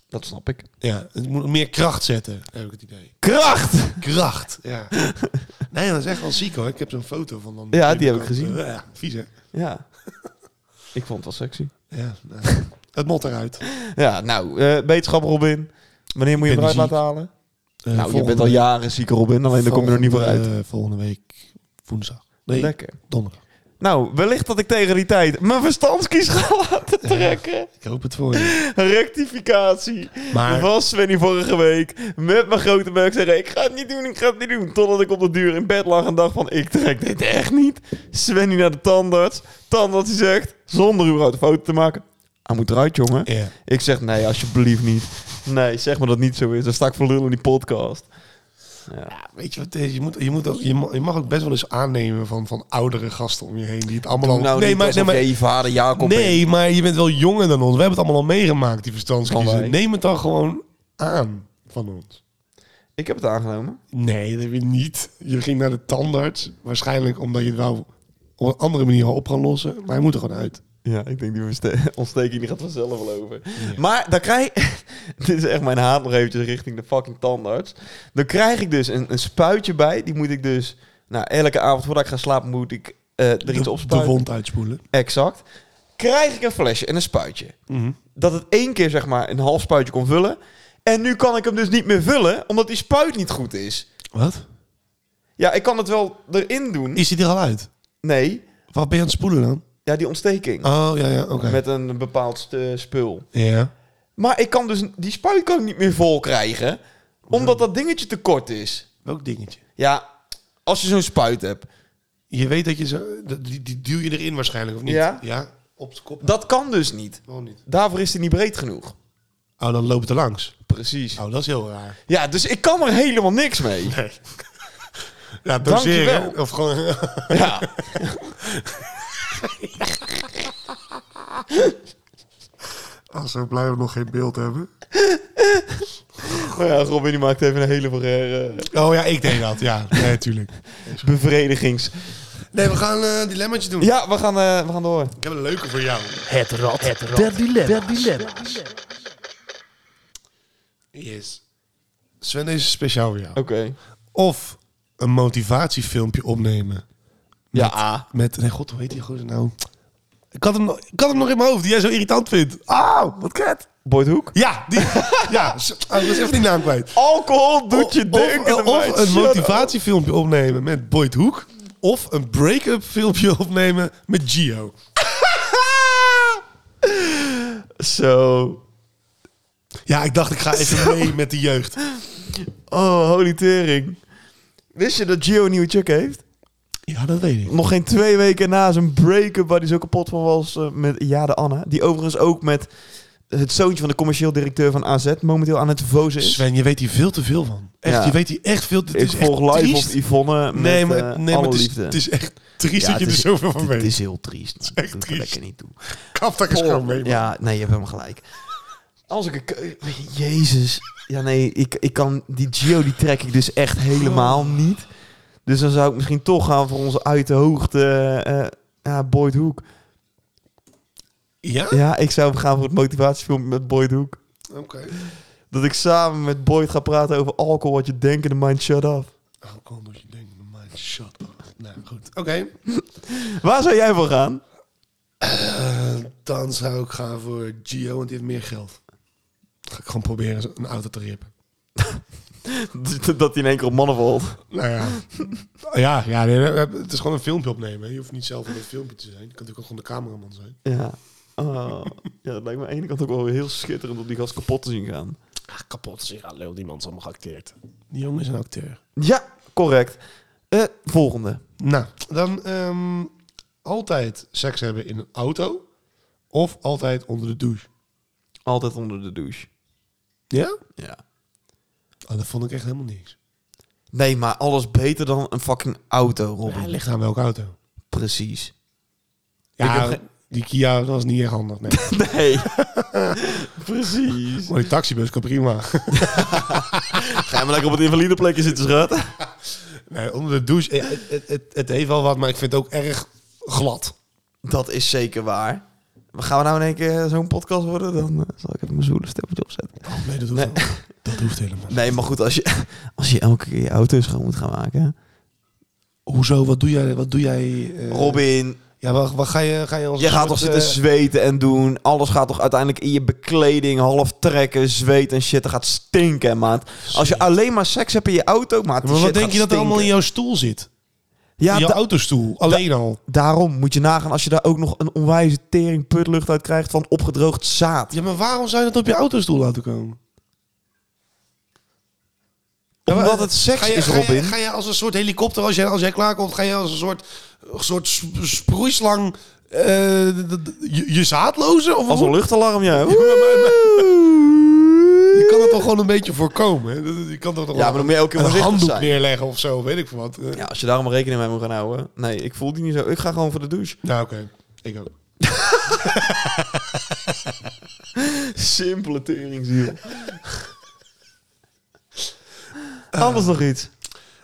[SPEAKER 2] dat snap ik.
[SPEAKER 3] Ja, het moet meer kracht zetten, heb ik het idee.
[SPEAKER 2] Kracht!
[SPEAKER 3] Kracht, ja. nee, dat is echt wel ziek hoor. Ik heb zo'n foto van dan.
[SPEAKER 2] Ja, die heb ik gezien.
[SPEAKER 3] Ja, vies hè?
[SPEAKER 2] Ja. Ik vond het wel sexy.
[SPEAKER 3] Ja, nou, het mot eruit.
[SPEAKER 2] Ja, nou, eh beterschap Robin. Wanneer moet je
[SPEAKER 3] ben
[SPEAKER 2] hem eruit
[SPEAKER 3] ziek.
[SPEAKER 2] laten halen?
[SPEAKER 3] Eh,
[SPEAKER 2] nou, je
[SPEAKER 3] volgende-
[SPEAKER 2] bent al jaren ziek Robin, alleen daar kom je er niet voor uit.
[SPEAKER 3] volgende- eh, volgende week woensdag. Nee,
[SPEAKER 2] Lekker.
[SPEAKER 3] donderdag.
[SPEAKER 2] Nou, wellicht dat ik tegen die tijd mijn verstandskies ga laten
[SPEAKER 3] Eh.
[SPEAKER 2] trekken.
[SPEAKER 3] Ik hoop het voor je.
[SPEAKER 2] Rectificatie.
[SPEAKER 3] Maar-
[SPEAKER 2] Was Svenny vorige week met mijn grote buik zeggen... ik ga het niet doen, ik ga het niet doen. Totdat ik op de duur in bed lag en dacht van... ik trek dit echt niet. Svenny naar de tandarts. Tandarts die zegt, zonder überhaupt een foto te maken... hij moet eruit, jongen.
[SPEAKER 3] Ja.
[SPEAKER 2] Ik zeg, nee, alsjeblieft niet. Nee, zeg maar dat niet zo is. Dan sta ik voor lul in die podcast.
[SPEAKER 3] Ja, weet je wat, het is? je, moet, je, moet ook, je, mag, je mag ook best wel eens aannemen van, van oudere gasten om je heen die het allemaal al...
[SPEAKER 2] nou je vader Jacob
[SPEAKER 3] nee, maar je bent wel jonger dan ons. We hebben het allemaal al meegemaakt, die
[SPEAKER 2] Van
[SPEAKER 3] verstandskiezen.
[SPEAKER 2] wij.
[SPEAKER 3] Neem het dan gewoon aan van ons.
[SPEAKER 2] Ik heb het aangenomen.
[SPEAKER 3] Nee, dat heb je niet. Je ging naar de tandarts. Waarschijnlijk omdat je het wou op een andere manier op gaan lossen. Maar hij moet er gewoon uit.
[SPEAKER 2] Ja, ik denk die verste- ontsteking die gaat vanzelf wel over. Maar dan krijg Dit is echt mijn haat nog eventjes richting de fucking tandarts. Dan krijg ik dus een, een spuitje bij. Die moet ik dus... Nou, elke avond voordat ik ga slapen moet ik eh, er iets
[SPEAKER 3] de, de
[SPEAKER 2] opspuiten.
[SPEAKER 3] wond uitspoelen.
[SPEAKER 2] Exact. Krijg ik een flesje en een spuitje.
[SPEAKER 3] Mhm.
[SPEAKER 2] Dat het één keer zeg maar een half spuitje kon vullen. En nu kan ik hem dus niet meer vullen, omdat die spuit niet goed is.
[SPEAKER 3] Wat?
[SPEAKER 2] Ja, ik kan het wel erin doen.
[SPEAKER 3] Is hij er al uit?
[SPEAKER 2] Nee,
[SPEAKER 3] Wat ben je aan het spoelen dan?
[SPEAKER 2] ja, die ontsteking.
[SPEAKER 3] Oh, ja, ja, oké.
[SPEAKER 2] Met een bepaald eh, spul.
[SPEAKER 3] Ja.
[SPEAKER 2] Maar ik kan dus die spuit kan ik niet meer vol krijgen, omdat dat dingetje te kort is.
[SPEAKER 3] Welk dingetje?
[SPEAKER 2] Ja, als je zo'n spuit hebt,
[SPEAKER 3] Je weet dat je zo... dat- Die, die duw je erin waarschijnlijk, of niet?
[SPEAKER 2] Ja.
[SPEAKER 3] Op de kop?
[SPEAKER 2] dat kan dus niet.
[SPEAKER 3] Waarom niet?
[SPEAKER 2] Daarvoor is die niet breed genoeg.
[SPEAKER 3] Oh, dan loopt het er langs.
[SPEAKER 2] Precies.
[SPEAKER 3] Oh, dat is heel raar.
[SPEAKER 2] Ja, dus ik kan er helemaal niks mee.
[SPEAKER 3] Ja,
[SPEAKER 2] Dankjewel.
[SPEAKER 3] Of gewoon...
[SPEAKER 2] Ja.
[SPEAKER 3] Als we blijven nog geen beeld hebben.
[SPEAKER 2] Maar Oh ja, dus Robin die maakt even een hele verre eh,
[SPEAKER 3] Oh ja, ik deed dat. Ja, nee, tuurlijk.
[SPEAKER 2] bevredigings.
[SPEAKER 3] Nee, we gaan eh dilemmaatje doen.
[SPEAKER 2] Ja, we gaan, eh, we gaan door.
[SPEAKER 3] Ik heb een leuke voor jou.
[SPEAKER 5] Het rad, het rad der dilemma's.
[SPEAKER 3] Yes. Sven, deze is speciaal voor jou.
[SPEAKER 2] Oké.
[SPEAKER 3] Of een motivatiefilmpje opnemen.
[SPEAKER 2] Ja, A.
[SPEAKER 3] Met, nee god, hoe heet die gozer nou? Ik had, hem, nog- ik had hem nog in mijn hoofd, die jij zo irritant vindt. Ah, wat ket.
[SPEAKER 2] Boyd Hoek.
[SPEAKER 3] Ja, die. ja, s- ah, ik was even die naam kwijt.
[SPEAKER 2] Alcohol doet je
[SPEAKER 3] Of-
[SPEAKER 2] denken.
[SPEAKER 3] Of,
[SPEAKER 2] meid.
[SPEAKER 3] of een
[SPEAKER 2] Shut up.
[SPEAKER 3] motivatiefilmpje opnemen met Boyd Hoek. Of een break-up filmpje opnemen met Gio.
[SPEAKER 2] Zo.
[SPEAKER 3] Ja, ik dacht ik ga even mee met de jeugd.
[SPEAKER 2] Oh, holy tering. Wist je dat Gio een nieuwe chick heeft?
[SPEAKER 3] Ja, dat weet ik.
[SPEAKER 2] Nog geen twee weken na zijn break-up, waar hij zo kapot van was eh, met Jade Anna. Die overigens ook met het zoontje van de commercieel directeur van AZ momenteel aan het vozen is.
[SPEAKER 3] Sven, je weet hier veel te veel van. Echt,
[SPEAKER 2] Ja.
[SPEAKER 3] je weet hier echt veel. Het
[SPEAKER 2] Ik
[SPEAKER 3] is echt
[SPEAKER 2] volg live
[SPEAKER 3] triest.
[SPEAKER 2] op Yvonne met
[SPEAKER 3] Nee, maar,
[SPEAKER 2] eh,
[SPEAKER 3] nee, maar
[SPEAKER 2] alle
[SPEAKER 3] het, is,
[SPEAKER 2] liefde.
[SPEAKER 3] het is echt triest
[SPEAKER 2] Ja,
[SPEAKER 3] dat je
[SPEAKER 2] het
[SPEAKER 3] er
[SPEAKER 2] is-
[SPEAKER 3] zoveel van
[SPEAKER 2] het-
[SPEAKER 3] weet.
[SPEAKER 2] Het is heel triest. maar
[SPEAKER 3] echt
[SPEAKER 2] doet er
[SPEAKER 3] triest.
[SPEAKER 2] lekker niet toe.
[SPEAKER 3] Kaf daar eens
[SPEAKER 2] Oh,
[SPEAKER 3] gewoon mee. man.
[SPEAKER 2] ja, nee, je hebt helemaal gelijk. Als ik een keu- Jezus. Ja, nee, ik, ik kan... Die Gio, die trek ik dus echt helemaal niet. Dus dan zou ik misschien toch gaan voor onze uit de hoogte... eh, ja, Boyd Hoek.
[SPEAKER 3] Ja?
[SPEAKER 2] Ja, ik zou gaan voor het motivatiefilmpje met Boyd Hoek.
[SPEAKER 3] Oké.
[SPEAKER 2] Dat ik samen met Boyd ga praten over alcohol, wat je denkt in de mind shut up.
[SPEAKER 3] Alcohol moet Nou, je denken, man, shut up. Nou, goed. Oké.
[SPEAKER 2] Waar zou jij voor gaan?
[SPEAKER 3] Eh, dan zou ik gaan voor Gio, want die heeft meer geld. Dan ga ik gewoon proberen zo- een auto te rippen.
[SPEAKER 2] Dat hij in één keer op mannen valt.
[SPEAKER 3] Nou ja. ja, ja nee, we hebben- het is gewoon een filmpje opnemen. Je hoeft niet zelf in het filmpje te zijn. Je kan natuurlijk ook gewoon de cameraman zijn.
[SPEAKER 2] Ja. Oh. ja, dat lijkt me aan de ene kant ook wel weer heel schitterend om die gast kapot te zien gaan.
[SPEAKER 3] Ah, kapot. Zeg, hallo, die man is allemaal geacteerd. Die jongen is een acteur.
[SPEAKER 2] Ja, correct. Eh, volgende.
[SPEAKER 3] Nou, dan ehm, altijd seks hebben in een auto. Of altijd onder de douche.
[SPEAKER 2] Altijd onder de douche.
[SPEAKER 3] Ja?
[SPEAKER 2] Ja.
[SPEAKER 3] Oh, dat vond ik echt helemaal niks.
[SPEAKER 2] Nee, maar alles beter dan een fucking auto, Robin.
[SPEAKER 3] Hij ligt aan welke auto?
[SPEAKER 2] Precies.
[SPEAKER 3] Ja,
[SPEAKER 2] Ik heb geen-
[SPEAKER 3] die Kia was niet echt handig. Nee.
[SPEAKER 2] Nee. Precies.
[SPEAKER 3] maar die taxibus kan prima.
[SPEAKER 2] Ga je maar lekker op het invalide plekje zitten, schat.
[SPEAKER 3] nee, onder de douche. eh, Het, het, het, het heeft wel wat, maar ik vind het ook erg glad.
[SPEAKER 2] Dat is zeker waar. Maar Gaan we nou in één keer zo'n podcast worden? Dan eh, zal ik even mijn zoele stemmetje opzetten.
[SPEAKER 3] Oh, nee, dat hoeft,
[SPEAKER 2] Nee.
[SPEAKER 3] helemaal- dat hoeft helemaal niet.
[SPEAKER 2] Nee, maar goed, als je, als je elke keer je auto schoon moet gaan maken.
[SPEAKER 3] Hoezo? Wat doe jij? Wat doe jij eh,
[SPEAKER 2] Robin,
[SPEAKER 3] Ja, wat, wat ga je, ga je eh, ons...
[SPEAKER 2] je gaat toch zitten zweten en doen. Alles gaat toch uiteindelijk in je bekleding half trekken, zweet en shit. Dat gaat stinken, hè, maat. Als je alleen maar seks hebt in je auto, maat. die
[SPEAKER 3] maar wat
[SPEAKER 2] shit
[SPEAKER 3] denk
[SPEAKER 2] gaat
[SPEAKER 3] je dat er allemaal in
[SPEAKER 2] stinken.
[SPEAKER 3] jouw stoel zit?
[SPEAKER 2] Ja,
[SPEAKER 3] in jouw
[SPEAKER 2] da-
[SPEAKER 3] autostoel. Alleen al.
[SPEAKER 2] daarom moet je nagaan als je daar ook nog een onwijze tering putlucht uit krijgt van opgedroogd zaad.
[SPEAKER 3] Ja, maar waarom zou je dat op je autostoel laten komen? Ja,
[SPEAKER 2] Omdat
[SPEAKER 3] maar, eh,
[SPEAKER 2] het seks
[SPEAKER 3] ga je-
[SPEAKER 2] is,
[SPEAKER 3] ga je-
[SPEAKER 2] Robin.
[SPEAKER 3] Ga je als een soort helikopter, als jij, als jij klaarkomt, ga je als een soort, een soort sp- sproeislang eh, d- d- je, je zaadlozen? Of
[SPEAKER 2] Als
[SPEAKER 3] hoe?
[SPEAKER 2] een luchtalarm, ja.
[SPEAKER 3] Je kan het toch gewoon een beetje voorkomen? Hè? Dat- Je kan toch toch
[SPEAKER 2] Ja, maar dan moet je elke keer
[SPEAKER 3] een
[SPEAKER 2] voorzichtig
[SPEAKER 3] handdoek
[SPEAKER 2] zijn.
[SPEAKER 3] neerleggen of zo, weet ik veel wat. Eh,
[SPEAKER 2] Ja, als je daar maar rekening mee moet gaan houden. Nee, ik voel die niet zo. Ik ga gewoon voor de douche.
[SPEAKER 3] Nou, oké. Ik ook.
[SPEAKER 2] Simpele teringziel. Anders nog iets.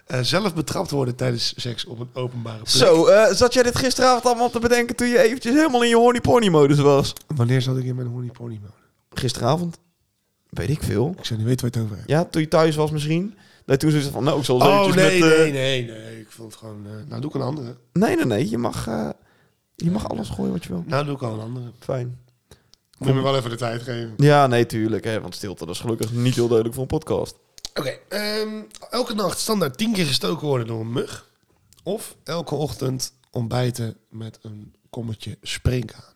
[SPEAKER 3] Eh, zelf betrapt worden tijdens seks op een openbare plek.
[SPEAKER 2] Zo, eh, zat jij dit gisteravond allemaal te bedenken toen je eventjes helemaal in je horny pony modus was?
[SPEAKER 3] Wanneer zat ik in mijn horny pony mode?
[SPEAKER 2] Gisteravond? Weet ik veel.
[SPEAKER 3] Ik zou niet weten waar je het over hebt.
[SPEAKER 2] Ja, toen je thuis was misschien. Nee, toen zei ze van, nou, ik zal eens
[SPEAKER 3] Oh,
[SPEAKER 2] eventjes
[SPEAKER 3] nee,
[SPEAKER 2] met... eh,
[SPEAKER 3] nee, nee, nee. Ik vond het gewoon... eh, nou, doe ik een andere.
[SPEAKER 2] nee, nee, nee, Je mag, eh, je mag alles gooien wat je wil.
[SPEAKER 3] Nou, doe ik al een andere.
[SPEAKER 2] Fijn.
[SPEAKER 3] Moet je me wel even de tijd geven.
[SPEAKER 2] Ja, nee, tuurlijk. Hè, want stilte, dat is gelukkig niet heel duidelijk voor een podcast.
[SPEAKER 3] Oké, ehm, elke nacht standaard tien keer gestoken worden door een mug. Of elke ochtend ontbijten met een kommetje springkaan.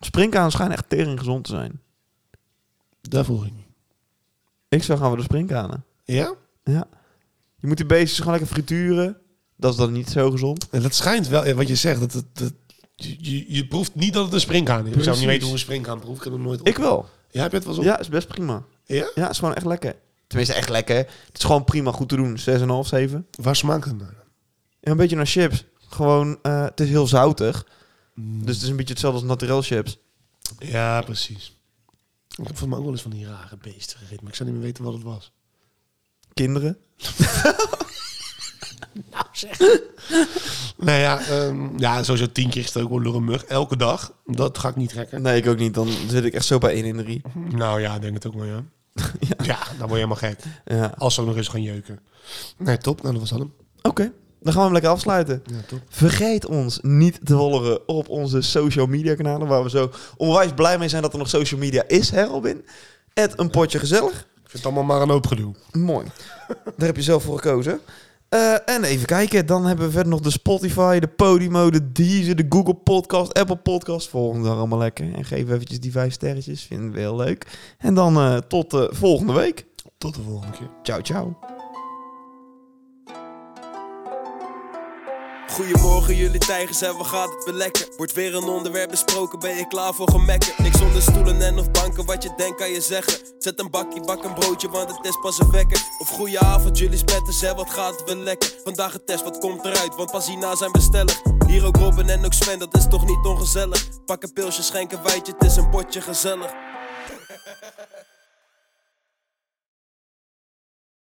[SPEAKER 2] Springkanen schijnen echt tering gezond te zijn.
[SPEAKER 3] Daar vroeg ik niet.
[SPEAKER 2] Ik zou gaan voor de springkanen.
[SPEAKER 3] Ja?
[SPEAKER 2] Ja. Je moet die beestjes gewoon lekker frituren. Dat is dan niet zo gezond.
[SPEAKER 3] En dat schijnt wel, eh, wat je zegt, dat, het- dat, je, je- je proeft niet dat het een springkaan is. Ik zou
[SPEAKER 2] Precies.
[SPEAKER 3] niet weten hoe een springkaan proeft. Ik heb hem nooit op.
[SPEAKER 2] Ik wel.
[SPEAKER 3] Ja, heb je het wel eens op?
[SPEAKER 2] Ja, is best prima.
[SPEAKER 3] Ja?
[SPEAKER 2] Ja, is gewoon echt lekker. Tenminste, echt lekker. Het is gewoon prima goed te doen. 6,5, 7.
[SPEAKER 3] Waar smaakt het naar?
[SPEAKER 2] En een beetje naar chips. Gewoon, eh, het is heel zoutig. Dus het is een beetje hetzelfde als naturel chips.
[SPEAKER 3] Ja, precies. Ik heb volgens mij ook wel eens van die rare beesten gegeten, maar ik zou niet meer weten wat het was.
[SPEAKER 2] Kinderen.
[SPEAKER 3] Nou ja, ehm, ja sowieso tien keer gestoken worden door een mug. Elke dag. Dat ga ik niet trekken.
[SPEAKER 2] Nee, ik ook niet. Dan zit ik echt zo bij 1 in de 3.
[SPEAKER 3] Nou ja, ik denk het ook wel, ja. Ja, dan word je helemaal gek.
[SPEAKER 2] Ja.
[SPEAKER 3] Als ze ook nog eens gaan jeuken. Nee, top. Nou, dat was dat hem.
[SPEAKER 2] Oké, dan gaan we hem lekker afsluiten.
[SPEAKER 3] Ja, top.
[SPEAKER 2] Vergeet ons niet te volgen op onze social media kanalen, waar we zo onwijs blij mee zijn dat er nog social media is, hè Robin? Het een potje gezellig.
[SPEAKER 3] Ik vind het allemaal maar een hoop gedoe.
[SPEAKER 2] Mooi. Daar heb je zelf voor gekozen. Eh, en even kijken, dan hebben we verder nog de Spotify, de Podimo, de Deezer, de Google Podcast, Apple Podcast. Volg ons daar allemaal lekker en geef eventjes die vijf sterretjes, vinden we heel leuk. En dan eh, tot eh, volgende week.
[SPEAKER 3] Tot de volgende keer.
[SPEAKER 2] Ciao, ciao.
[SPEAKER 1] Goedemorgen jullie tijgers en wat gaat het weer lekker Wordt weer een onderwerp besproken, ben je klaar voor gemekken Niks onder stoelen en of banken, wat je denkt kan je zeggen Zet een bakje, bak een broodje, want het is pas een wekker Of goeie avond jullie spetters en wat gaat het weer lekker Vandaag getest, wat komt eruit, want pas hierna zijn bestellig Hier ook Robin en ook Sven, dat is toch niet ongezellig Pak een pilsje, schenk een wijtje, het is een potje gezellig